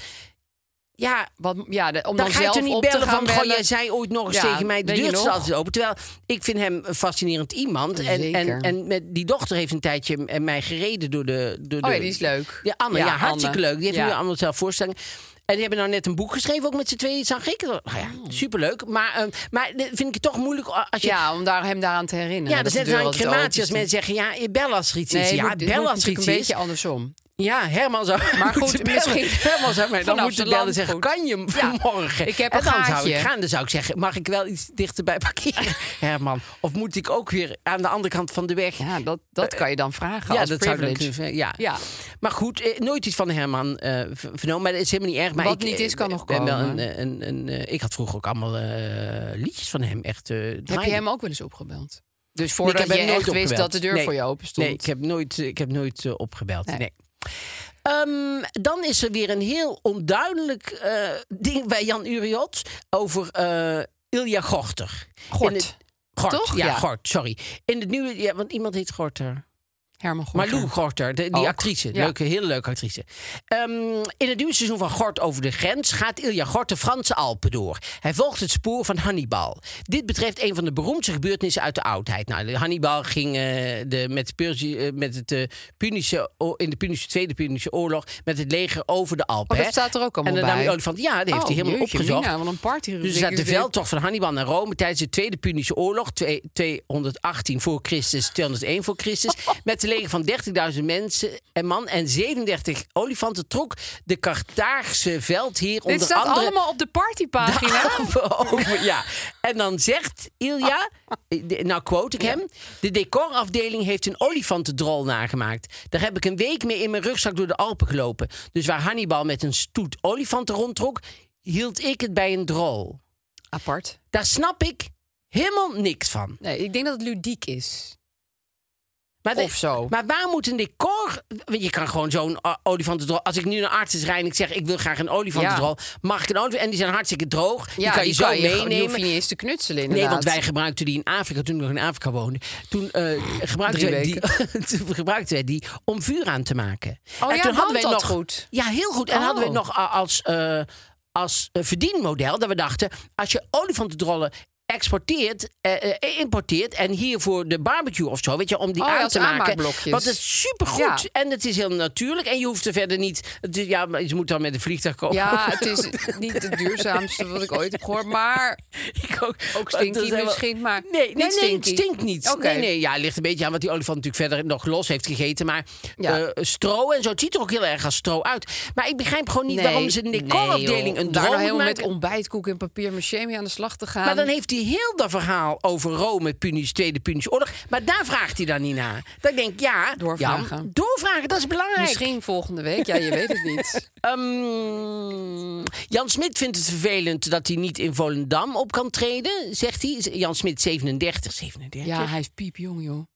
ja,
Want, ja, de- om
dan
dan
ga je
zelf
toch niet
op te
bellen
gaan
van... Goh,
bellen.
jij zei ooit nog eens
Ja,
tegen mij, de
weet
deur
je
staat
nog?
altijd open. Terwijl, ik vind hem een fascinerend iemand. En, en,
Zeker.
en met die dochter heeft een tijdje m- mij gereden door de... Door
Oh ja,
de-
die is leuk.
Ja, Anne, ja,
Ja,
hartstikke
Anne.
leuk. Die heeft
Ja.
nu allemaal zelf voorstellingen. En die hebben nou net een boek geschreven, ook met z'n tweeën, zag ik. Nou ja, superleuk. Maar, ehm, maar dat vind ik het toch moeilijk als je...
Oh. Ja, om daar, hem daaraan te herinneren.
Ja, dat is
de
net
deur
als een
altijd
crematie. Als
open
mensen
is.
zeggen, ja, je bel als er iets is.
Nee,
Ja,
moet- dit moet
bel als er
natuurlijk
iets
een
is.
beetje andersom.
Ja, Herman zou
Maar
moeten
goed,
bellen.
misschien-
Herman zou mij dan
Vanaf
moeten
de
bellen en
land
zeggen,
goed.
kan je hem
Ja,
vanmorgen?
ik heb
en
een
dan zou
gaatje.
ik gaan. Dan zou ik zeggen, mag ik wel iets dichterbij parkeren, Herman? Of moet ik ook weer aan de andere kant van de weg?
Ja, dat, dat kan je dan vragen
Ja,
als
dat zou ik
privilege.
kunnen zeggen, ja.
Ja.
Maar goed, eh, nooit iets van Herman eh, v- vernomen. Maar dat is helemaal niet erg. Maar
Wat
ik,
niet
eh,
is, kan
ben
nog
wel
komen.
een- een- een, eh, ik had vroeger ook allemaal eh, liedjes van hem. Echt, eh,
Heb je
draaien.
hem ook wel eens opgebeld? Dus
Nee,
voordat
hem
je
nooit
echt wist
opgebeld.
dat de deur
Nee.
voor je open stond.
Nee, ik heb nooit, ik heb nooit eh, opgebeld. Nee.
Nee.
Ehm, dan is er weer een heel onduidelijk eh, ding bij Jan Uriot over eh, Ilja Gorter.
Gort.
In het- Gort,
Toch?
Ja,
Ja.
Gort, sorry. In het nieuwe, ja, want iemand heet Gorter.
Herman Gorter.
Marlou Gorter, de- die
Ook,
actrice.
ja.
Leuke, heel leuke actrice. Ehm, in het nieuwe seizoen van Gort over de grens gaat Ilja Gort de Franse Alpen door. Hij volgt het spoor van Hannibal. Dit betreft een van de beroemdste gebeurtenissen uit de oudheid. Nou, Hannibal ging eh, de, met, Perzi- eh, met het eh, Punische, o- in de Punische, Tweede Punische Oorlog met het leger over de Alpen.
Oh, dat
hè?
staat er ook allemaal
En dan nam
bij. Oh,
hij olifant. Ja, die heeft hij helemaal
jeetje,
opgezocht.
Mina, wat een party.
Dus er staat de veldtocht van Hannibal naar Rome tijdens de Tweede Punische Oorlog, twee- 218 voor Christus, 201 voor Christus, met een leger van 30.000 mensen en man en 37 olifanten trok de Carthaagse veldheer
Dit
onder
staat
andere
allemaal op de partypagina.
over, over- ja. En dan zegt Ilja,
Ah.
eh, de- nou quote ik hem, de decorafdeling heeft een olifantendrol nagemaakt. Daar heb ik een week mee in mijn rugzak door de Alpen gelopen. Dus waar Hannibal met een stoet olifanten rondtrok, hield ik het bij een drol.
Apart.
Daar snap ik helemaal niks van.
Nee, ik denk dat het ludiek is.
Maar de-
Of zo.
Maar waar moet een decor... Want je kan gewoon zo'n o- olifantendrol... Als ik nu naar artsen rijd en ik zeg... ik wil graag een olifantendrol... mag ik een olifant... En die zijn hartstikke droog. die kan je zo
Die hoef
meenemen.
je niet eens te knutselen inderdaad.
Nee, want wij gebruikten die in Afrika toen ik nog in Afrika woonde. Toen, eh, gebruikten,
Drie
wij die, toen gebruikten wij die om vuur aan te maken.
Oh ja,
toen
brandt
wij
dat
nog,
goed?
Ja, heel goed. En
Oh.
hadden we het nog a- als, eh, als eh, verdienmodel dat we dachten: als je olifantendrollen exporteert, eh, eh, importeert en hier voor de barbecue of zo, weet je, om die
Oh,
aan
als
te maken.
aanmaakblokjes.
Want het is supergoed
Ja.
en het is heel natuurlijk en je hoeft er verder niet. het is- ja, maar je moet dan met een vliegtuig komen.
Ja, het is niet het duurzaamste wat ik ooit heb gehoord. Maar
Ik ook.
Ook stinky
Dat is helemaal-
misschien, maar
Nee, nee,
niet
nee, het
stinky.
stinkt niet.
Oké.
Nee, nee, ja, het ligt een beetje aan wat die olifant natuurlijk verder nog los heeft gegeten. Maar
Ja.
eh, stro en zo, het ziet er ook heel erg als stro uit. Maar ik begrijp gewoon niet
Nee,
waarom ze een
nee,
decorafdeling
joh.
een
Om Daar
drone
nou helemaal met
maken.
ontbijtkoek en papier maché mee aan de slag te gaan.
Maar dan heeft hij heel dat verhaal over Rome, Punische, Tweede Punische Oorlog. Maar daar vraagt hij dan niet naar. Dan denk ik, ja,
Doorvragen.
Jan, doorvragen, dat is belangrijk.
Misschien volgende week. Ja, je weet het niet.
Ehm, Jan Smit vindt het vervelend dat hij niet in Volendam op kan treden, zegt hij. Jan Smit, 37. 37?
Ja, hij is piepjong, joh.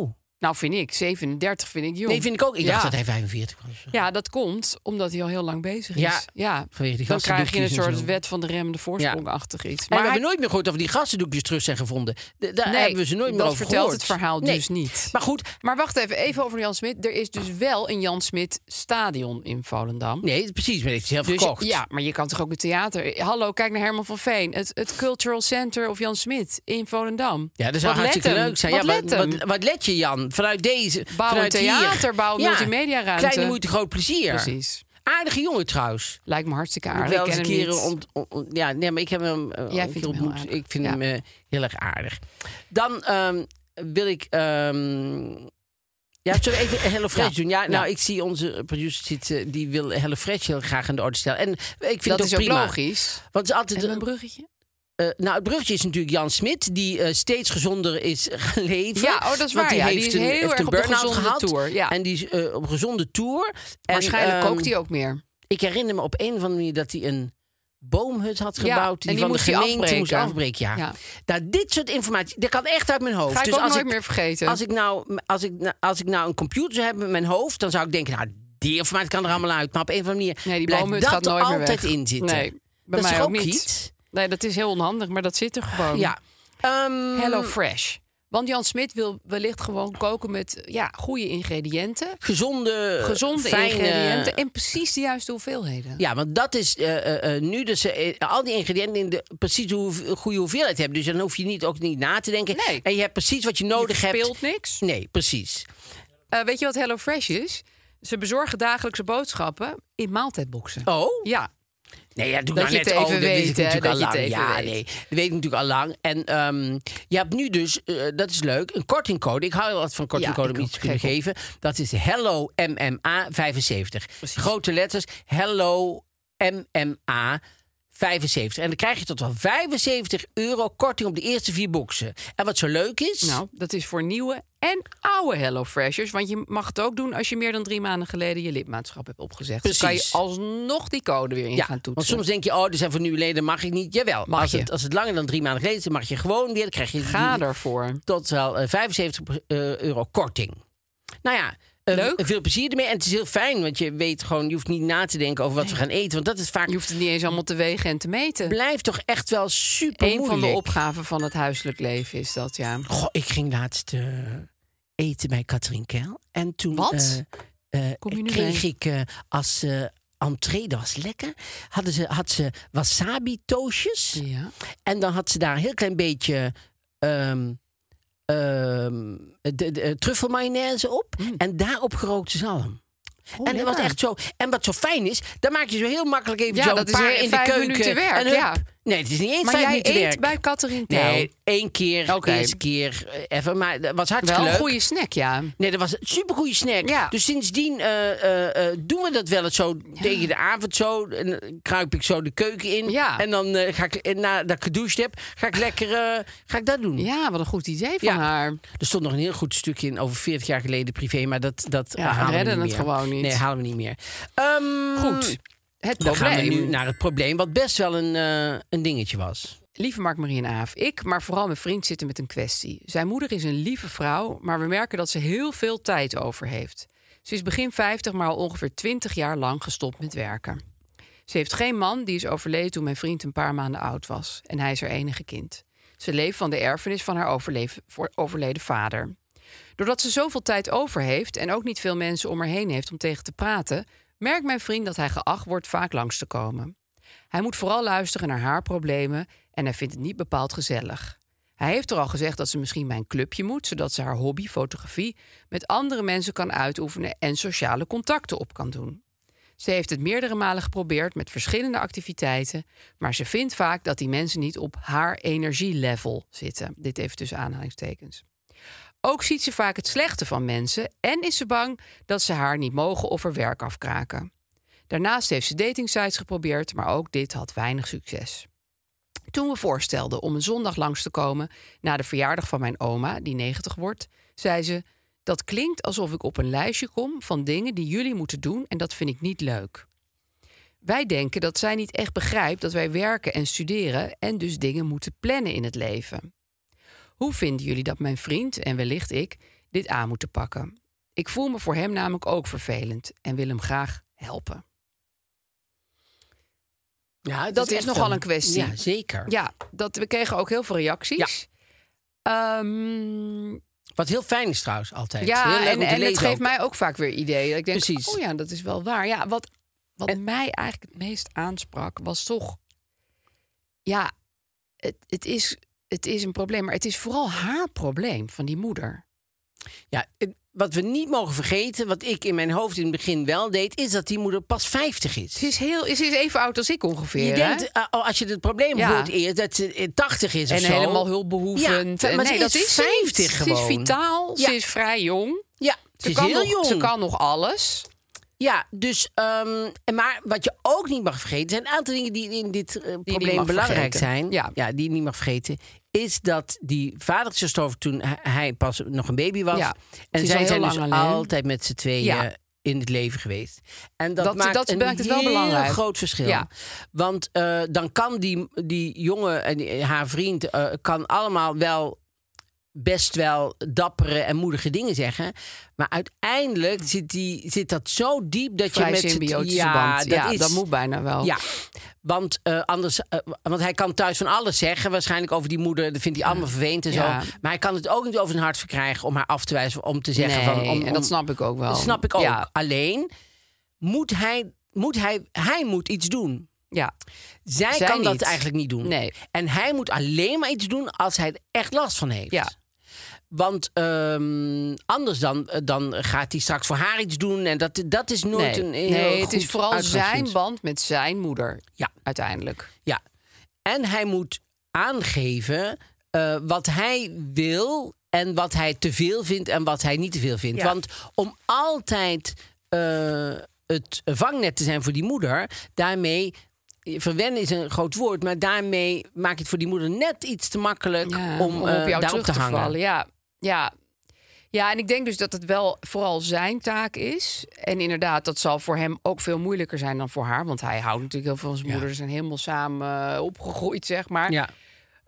Oh.
Nou, vind ik. 37 vind ik jong.
Nee, vind ik ook. Ik dacht
Ja.
dat hij 45 was.
Ja, dat komt omdat hij al heel lang bezig is.
Ja,
Ja,
vanwege die
dan krijg je een
gastendoekjes en
soort
zo.
wet van de rem de voorsprongachtig
Maar
iets. Maar
we
hij-
hebben nooit meer gehoord of die gassendoekjes terug zijn gevonden. D- daar
Nee,
hebben we ze nooit meer
dat
over
vertelt
gehoord.
het verhaal dus niet.
Maar goed,
maar wacht even, even over Jan Smit. Er is dus wel een Jan Smit stadion in Volendam.
nee, precies. Maar hij heeft zelf
Dus
gekocht.
ja, maar je kan toch ook een theater. Hallo, kijk naar Herman van Veen. Het, het Cultural Center of Jan Smit in Volendam.
Ja, dat zou
Wat let
hartstikke
hem?
leuk zijn.
Wat
ja,
let
wat,
hem?
wat, wat let je, Jan? Vanuit deze.
Bouw een
vanuit hier.
theater, bouw een
Ja,
multimediaruimte.
Kleine moeite, groot plezier.
eh, Precies.
Aardige jongen trouwens.
Lijkt me hartstikke
Moet
aardig.
wel
Ik
eens
ken
een
hem
keer
niet.
ont- on- on- ja, nee, maar ik heb hem. eh,
Jij
een
vindt
keer
hem heel
ontmoet.
aardig.
Ik vind
Ja.
hem eh, heel erg aardig. Dan ehm, wil ik. ehm, ja, zullen we even HelloFresh
Ja.
doen? Ja, nou,
Ja.
ik zie onze producer zitten, die wil HelloFresh heel graag aan de orde stellen. En ik vind
Dat
het
is
ook
ook
prima.
logisch.
Want het is altijd
En een bruggetje?
eh, nou, het bruggetje is natuurlijk Jan Smit, die eh, steeds gezonder is gaan leven.
Ja, oh, dat is
Want
waar,
Die
ja. Die
heeft
is
een,
heel
heeft
erg
een
op de
burn-out
gezonde
gehad.
toer, ja.
En die is eh, op gezonde tour. En,
Waarschijnlijk
ehm,
kookt hij ook meer.
Ik herinner me op een of andere manier dat hij een boomhut had
Ja,
gebouwd. die,
en die
van
moest
de
hij
gemeente moest
afbreken.
afbreken. Ja.
Ja.
Nou, dit soort informatie, dat kan echt uit mijn hoofd.
Ga ik
dus
ook
als
nooit
ik,
meer vergeten.
Als ik, nou, als, ik, nou- als ik nou een computer zou hebben in mijn hoofd, dan zou ik denken, nou, die informatie kan er allemaal uit. Maar op een of andere manier
Nee, die
blijft
boomhut
dat
gaat
er
nooit meer
altijd
weg.
in zitten.
Nee, bij
dat is
mij
toch
ook niet.
iets?
Nee, dat is heel onhandig, maar dat zit er gewoon.
Ja. Ehm,
Hello Fresh. Want Jan Smit wil wellicht gewoon koken met ja, goede ingrediënten.
gezonde,
Gezonde
fijne-
ingrediënten en precies de juiste hoeveelheden.
Ja, want dat is eh, eh, eh, nu dus eh, al die ingrediënten in de precies de hoeve- goede hoeveelheid hebben. Dus dan hoef je niet, ook niet na te denken.
Nee.
En je hebt precies wat je nodig
Je
hebt.
verspilt niks.
Nee, precies.
Eh, weet je wat Hello Fresh is? Ze bezorgen dagelijkse boodschappen in maaltijdboxen.
Oh?
Ja,
Nee, ja, doe
Dat
nou
je
net
het
oh,
even
dat wist ik
weet, hè,
natuurlijk
dat
al
je
lang.
het even
Ja,
weet.
nee, dat weet ik natuurlijk al lang. En ehm, je hebt nu dus, eh, dat is leuk, een kortingcode. Ik hou wel wat van kortingcode
ik
om
ook,
iets te kunnen
gek op.
geven. Dat is Hello MMA 75. Grote letters, Hello MMA 75. En dan krijg je tot wel 75 euro korting op de eerste vier boxen. En wat zo leuk is...
nou, dat is voor nieuwe en oude Hello Freshers. Want je mag het ook doen als je meer dan drie maanden geleden je lidmaatschap hebt opgezegd. Dus Dan kan je
Precies.
alsnog die code weer in
Ja,
gaan toetsen.
want soms denk je, oh, er zijn voor nieuwe leden, mag ik niet. Jawel,
Mag
als,
je.
Het, als het langer dan drie maanden geleden is, dan mag je gewoon weer. Dan krijg je
Ga
die-
daarvoor.
tot wel eh, 75 eh, euro korting. Nou ja, eh,
Leuk.
veel plezier ermee. En het is heel fijn, want je weet gewoon, je hoeft niet na te denken over wat we gaan eten. Want dat is vaak,
Je hoeft het niet eens allemaal te wegen en te meten.
blijft toch echt wel super
Een van de
moeilijk.
opgaven van het huiselijk leven is dat, ja.
Goh, ik ging laatst eh, eten bij Katrien Keil. En toen
Wat?
eh, eh,
Kom je nu
kreeg
mee?
ik eh, als eh entree, dat was lekker, hadden ze, had ze wasabi toosjes.
ja.
En dan had ze daar een heel klein beetje ehm ehm, de, de, truffelmayonaise op.
Mm.
En daarop gerookte zalm. en dat was echt zo. En wat zo fijn is, dan maak je zo heel makkelijk even
Ja,
zo een
dat is
paar
weer
in de
vijf
keuken.
minuten werk,
en hup.
ja.
Nee, het is niet eens
Maar
vijf
jij
minuten
eet
werk.
bij Catherine Tijl.
Nee, één keer,
Oké.
eerste keer, eh, even. Maar dat was
Wel
hartstikke
een
leuk.
goede snack, ja.
Nee, dat was een supergoeie snack.
Ja.
Dus sindsdien eh, eh, eh, doen we dat wel eens zo tegen de avond zo. En dan kruip ik zo de keuken in.
Ja.
En dan eh, ga ik, en nadat ik gedoucht heb, ga ik lekker eh, ga ik dat doen.
Ja, wat een goed idee van
Ja.
haar.
Er stond nog een heel goed stukje in over 40 jaar geleden privé. Maar dat, dat
Ja,
eh, halen
we redden
we niet
het
meer.
gewoon niet.
Nee, halen we niet meer. Ehm,
Goed. Mm. Het
Dan gaan we
probleem.
nu naar het probleem, wat best wel een, eh, een dingetje was.
Lieve Mark-Marie en Aaf, ik, maar vooral mijn vriend zitten met een kwestie. Zijn moeder is een lieve vrouw, maar we merken dat ze heel veel tijd over heeft. Ze is begin 50, maar al ongeveer 20 jaar lang gestopt met werken. Ze heeft geen man, die is overleden toen mijn vriend een paar maanden oud was. En hij is haar enige kind. Ze leeft van de erfenis van haar overleef- voor- overleden vader. Doordat ze zoveel tijd over heeft en ook niet veel mensen om haar heen heeft om tegen te praten, merkt mijn vriend dat hij geacht wordt vaak langs te komen. Hij moet vooral luisteren naar haar problemen en hij vindt het niet bepaald gezellig. Hij heeft er al gezegd dat ze misschien bij een clubje moet, zodat ze haar hobby, fotografie, met andere mensen kan uitoefenen en sociale contacten op kan doen. Ze heeft het meerdere malen geprobeerd met verschillende activiteiten, maar ze vindt vaak dat die mensen niet op haar energielevel zitten. Dit even tussen aanhalingstekens. Ook ziet ze vaak het slechte van mensen en is ze bang dat ze haar niet mogen of haar werk afkraken. Daarnaast heeft ze datingsites geprobeerd, maar ook dit had weinig succes. Toen we voorstelden om een zondag langs te komen na de verjaardag van mijn oma, die 90 wordt, zei ze: Dat klinkt alsof ik op een lijstje kom van dingen die jullie moeten doen en dat vind ik niet leuk. Wij denken dat zij niet echt begrijpt dat wij werken en studeren en dus dingen moeten plannen in het leven. Hoe vinden jullie dat mijn vriend en wellicht ik dit aan moeten pakken? Ik voel me voor hem namelijk ook vervelend en wil hem graag helpen.
Ja,
dat is nogal een kwestie.
Ja, zeker.
Ja, dat, we kregen ook heel veel reacties. Ja.
Wat heel fijn is trouwens altijd. heel
ja,
leuk
en,
om te
en het
lezen
geeft
ook.
mij ook vaak weer ideeën. Ik denk,
Precies.
oh ja, dat is wel waar. Ja, wat, wat mij eigenlijk het meest aansprak, was toch... Ja, het, het, is, het is een probleem, maar het is vooral haar probleem van die moeder.
Ja, het- wat we niet mogen vergeten, wat ik in mijn hoofd in het begin wel deed, is dat die moeder pas 50 is.
Ze is, heel, ze is even oud als ik ongeveer.
Je
hè?
denkt, eh, oh, als je het probleem
Ja.
hoort eerst, dat ze eh, 80 is
en
of zo.
helemaal hulpbehoevend.
Ja,
en
maar
nee,
ze
dat
is
is ze niet.
50
Ze
gewoon.
is vitaal,
Ja.
ze is vrij jong.
Ja,
Ze,
ze is
kan
heel
nog,
jong.
Ze kan nog alles.
Ja, dus, ehm, en maar wat je ook niet mag vergeten, zijn een aantal dingen die in dit eh, probleem
mag
belangrijk
vergeten.
zijn.
Ja.
die je niet mag vergeten. Is dat die vader is gestorven toen hij- hij pas nog een baby was.
Ja, ze
En
is
zij
al heel
zijn dus
lang alleen.
altijd met z'n tweeën
Ja.
in het leven geweest. En dat,
Dat-
maakt
dat
een
maakt het wel
heel
belangrijk.
groot verschil.
Ja.
Want eh, dan kan die, die jongen en die- haar vriend eh, kan allemaal wel best wel dappere en moedige dingen zeggen. Maar uiteindelijk zit, die, zit dat zo diep dat
Vrij
je met z'n-
symbiotische
ja,
band.
Dat
ja,
is,
dat moet bijna wel.
ja, want, eh, anders, eh, want hij kan thuis van alles zeggen. Waarschijnlijk over die moeder. Dat vindt hij allemaal verweend en
Ja.
zo. Maar hij kan het ook niet over zijn hart verkrijgen om haar af te wijzen. Om te zeggen
nee,
van. Om,
en dat
om-
snap ik ook wel.
dat snap ik ook.
Ja,
Alleen moet hij. Moet hij, hij moet iets doen.
ja.
Zij,
Zij
kan dat
niet.
eigenlijk niet doen.
Nee.
En hij moet alleen maar iets doen als hij er echt last van heeft.
Ja.
Want ehm, anders dan, dan gaat hij straks voor haar iets doen. En dat, dat is nooit
Nee,
een heel
nee het
goed
is vooral
uitgangspunt.
zijn band met zijn moeder.
Ja.
Uiteindelijk.
Ja. En hij moet aangeven eh, wat hij wil en wat hij te veel vindt en wat hij niet te veel vindt.
Ja.
Want om altijd eh, het vangnet te zijn voor die moeder, daarmee. Verwennen is een groot woord, maar daarmee maak je het voor die moeder net iets te makkelijk
Ja,
om, eh,
op jou
daarop
terug
te hangen.
vallen. Ja, ja. ja, en ik denk dus dat het wel vooral zijn taak is. En inderdaad, dat zal voor hem ook veel moeilijker zijn dan voor haar. Want hij houdt natuurlijk heel veel van zijn moeder. Ze zijn helemaal samen eh, opgegroeid, zeg maar.
Ja.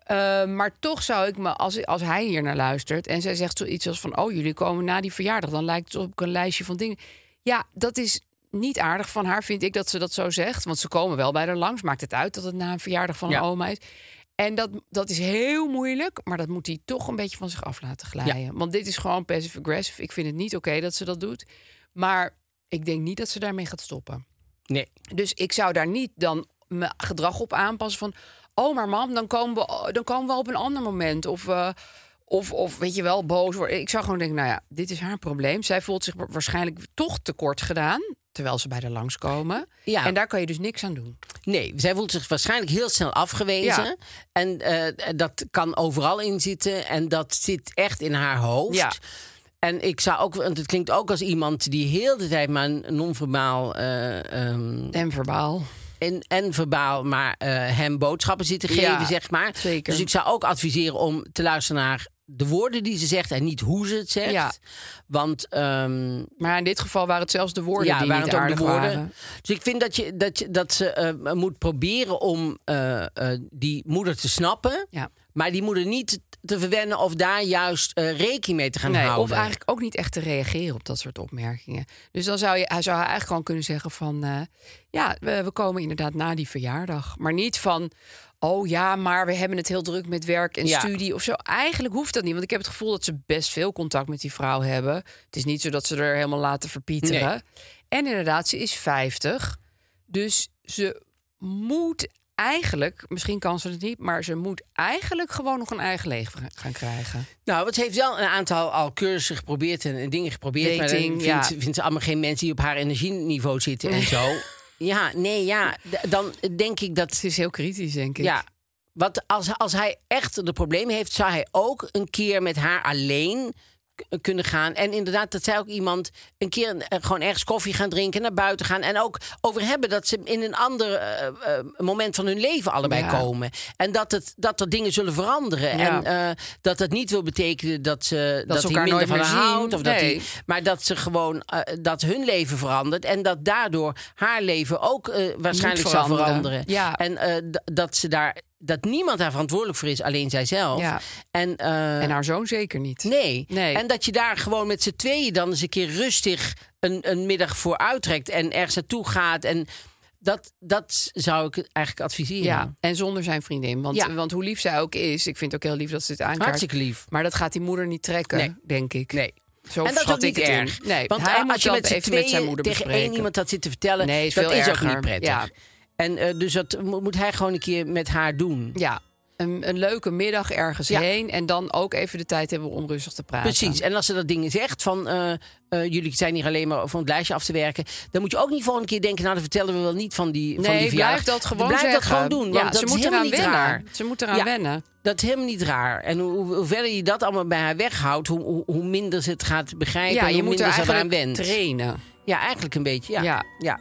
Eh, maar toch zou ik me, als, als hij hier naar luistert en zij zegt zoiets als van: Oh, jullie komen na die verjaardag, dan lijkt het op een lijstje van dingen. Ja, dat is niet aardig van haar, vind ik dat ze dat zo zegt. Want ze komen wel bij haar langs. Maakt het uit dat het na een verjaardag van
Ja.
een oma is. En dat, dat is heel moeilijk, maar dat moet hij toch een beetje van zich af laten glijden. Want dit is gewoon passive aggressive. Ik vind het niet oké dat ze dat doet. Maar ik denk niet dat ze daarmee gaat stoppen.
Nee.
Dus ik zou daar niet dan mijn gedrag op aanpassen van... oh, maar mam, dan komen we, dan komen we op een ander moment. Of, eh, of, of weet je wel, boos worden. Ik zou gewoon denken, nou ja, dit is haar probleem. Zij voelt zich wa- waarschijnlijk toch tekort gedaan... terwijl ze bij haar langskomen.
Ja.
En daar kan je dus niks aan doen.
Nee, zij voelt zich waarschijnlijk heel snel afgewezen.
Ja.
En eh, dat kan overal in zitten. En dat zit echt in haar hoofd.
Ja.
En ik zou ook, want het klinkt ook als iemand die heel de tijd maar non-verbaal eh, ehm,
En verbaal.
en, en verbaal, maar eh, hem boodschappen zit te geven,
Ja,
zeg maar.
zeker.
Dus ik zou ook adviseren om te luisteren naar de woorden die ze zegt en niet hoe ze het zegt.
Ja.
Want ehm,
Maar in dit geval waren het zelfs de woorden die
waren
niet
het ook
aardig
de woorden.
waren.
Dus ik vind dat, je, dat, je, dat ze eh, moet proberen om eh, eh, die moeder te snappen.
Ja.
Maar die moeder niet te verwennen of daar juist eh, rekening mee te gaan
Nee,
houden.
of eigenlijk ook niet echt te reageren op dat soort opmerkingen. Dus dan zou je, hij zou eigenlijk gewoon kunnen zeggen van... eh, ja, we, we komen inderdaad na die verjaardag. Maar niet van, oh ja, maar we hebben het heel druk met werk en
Ja.
studie of zo. Eigenlijk hoeft dat niet, want ik heb het gevoel dat ze best veel contact met die vrouw hebben. Het is niet zo dat ze er helemaal laten verpieteren.
Nee.
En inderdaad, ze is 50. Dus ze moet eigenlijk, misschien kan ze het niet... maar ze moet eigenlijk gewoon nog een eigen leven gaan krijgen.
Nou, het heeft wel een aantal al cursussen geprobeerd en, en dingen geprobeerd. maar dan
Dating,
vindt,
ja.
ze- vindt ze allemaal geen mensen die op haar energieniveau zitten en zo. Ja, nee, ja. d- Dan denk ik dat
Ze is heel kritisch, denk ik.
Ja. Want als, als hij echt de problemen heeft, zou hij ook een keer met haar alleen k- kunnen gaan. En inderdaad, dat zij ook iemand een keer eh, gewoon ergens koffie gaan drinken, naar buiten gaan. En ook over hebben dat ze in een ander eh, eh, moment van hun leven allebei
Ja.
komen. En dat, het, dat er dingen zullen veranderen.
Ja.
En eh, dat dat niet wil betekenen dat ze, dat
ze
hij
elkaar
minder
nooit
van
meer
haar
zien.
houdt. Of dat
Nee.
hij, maar dat ze gewoon eh, dat hun leven verandert. En dat daardoor haar leven ook eh, waarschijnlijk zal
veranderen.
veranderen.
Ja.
En eh, d- dat ze daar dat niemand daar verantwoordelijk voor is, alleen zijzelf.
Ja.
En, eh,
En haar zoon zeker niet.
nee.
Nee.
En dat je daar gewoon met z'n tweeën dan eens een keer rustig een, een middag voor uittrekt en ergens naartoe gaat. En dat, dat zou ik eigenlijk adviseren.
Ja, en zonder zijn vriendin. Want,
Ja.
want hoe lief zij ook is, ik vind het ook heel lief dat ze dit aankaart.
Hartstikke lief.
Maar dat gaat die moeder niet trekken,
Nee.
denk ik.
Nee.
Zo
en dat is
schat
ook
ik
niet
het in.
erg.
Nee,
Want
hij
als
moet
je
dat
met z'n
even met zijn
tweeën
moeder
tegen
bespreken.
één iemand dat zit te vertellen,
Nee, is
dat
veel
is ook
erger.
niet prettig.
Ja.
En eh, dus dat mo- moet hij gewoon een keer met haar doen.
Ja, een, een leuke middag ergens
Ja.
heen. En dan ook even de tijd hebben om rustig te praten.
Precies. En als ze dat ding zegt van eh, eh, jullie zijn hier alleen maar om het lijstje af te werken, dan moet je ook niet volgende keer denken, nou dan vertellen we wel niet van die van
Nee,
die verjaardag.
blijf dat gewoon
Blijf dat
zeggen.
gewoon doen.
Ja,
want dat
ze
is
moet
helemaal
eraan
niet
wennen.
raar.
Ze moet eraan
Ja.
wennen.
Dat is helemaal niet raar. En hoe, hoe verder je dat allemaal bij haar weghoudt, hoe, hoe, hoe minder ze het gaat begrijpen.
Ja,
en
je
hoe
moet er
minder ze eraan
eigenlijk
went.
trainen.
Ja, eigenlijk een beetje. Ja.
Ja.
ja.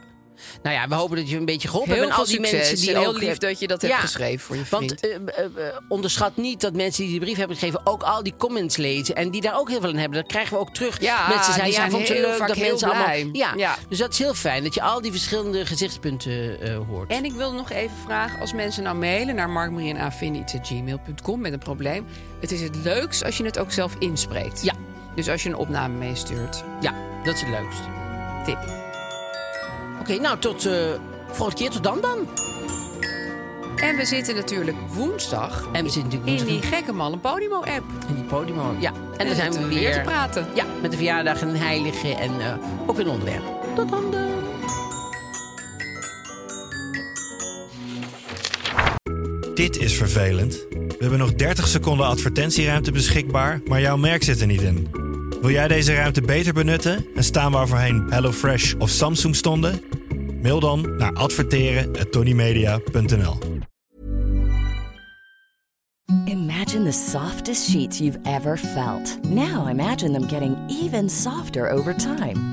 Nou ja, we hopen dat je een beetje geholpen
Heel
hebt. En
veel
al die
succes
mensen die
en heel
ook,
lief
eh,
dat je dat hebt geschreven voor je
Want eh, eh, eh, onderschat niet dat mensen die die brief hebben geschreven ook al die comments lezen. En die daar ook heel veel aan hebben. Dat krijgen we ook terug.
Ja,
mensen
die
zeiden, ja,
zijn
vond ze
heel
leuk
vaak
dat
heel
mensen
blij.
allemaal. Ja.
Ja.
dus dat is heel fijn dat je al die verschillende gezichtspunten eh, hoort.
En ik wil nog even vragen, als mensen nou mailen naar markmarienafinity.gmail.com met een probleem. Het is het leukst als je het ook zelf inspreekt.
Ja.
Dus als je een opname meestuurt.
Ja, dat is het leukst.
Tip.
Oké, nou tot eh volgende keer. Tot dan dan.
En we zitten natuurlijk woensdag
En we zitten natuurlijk
in
woensdag
die gekke malle Podimo-app.
in die podium. Ja, en, dan
En
zijn we
zitten
weer.
te praten.
Ja, met de verjaardag en een heilige en eh, ook een onderwerp. Tot dan dan.
Dit is vervelend. We hebben nog 30 seconden advertentieruimte beschikbaar, maar jouw merk zit er niet in. Wil jij deze ruimte beter benutten en staan waar voorheen HelloFresh of Samsung stonden? Mail dan naar adverteren@tonymedia.nl.
Imagine the softest sheets you've ever felt. Now imagine them getting even softer over time.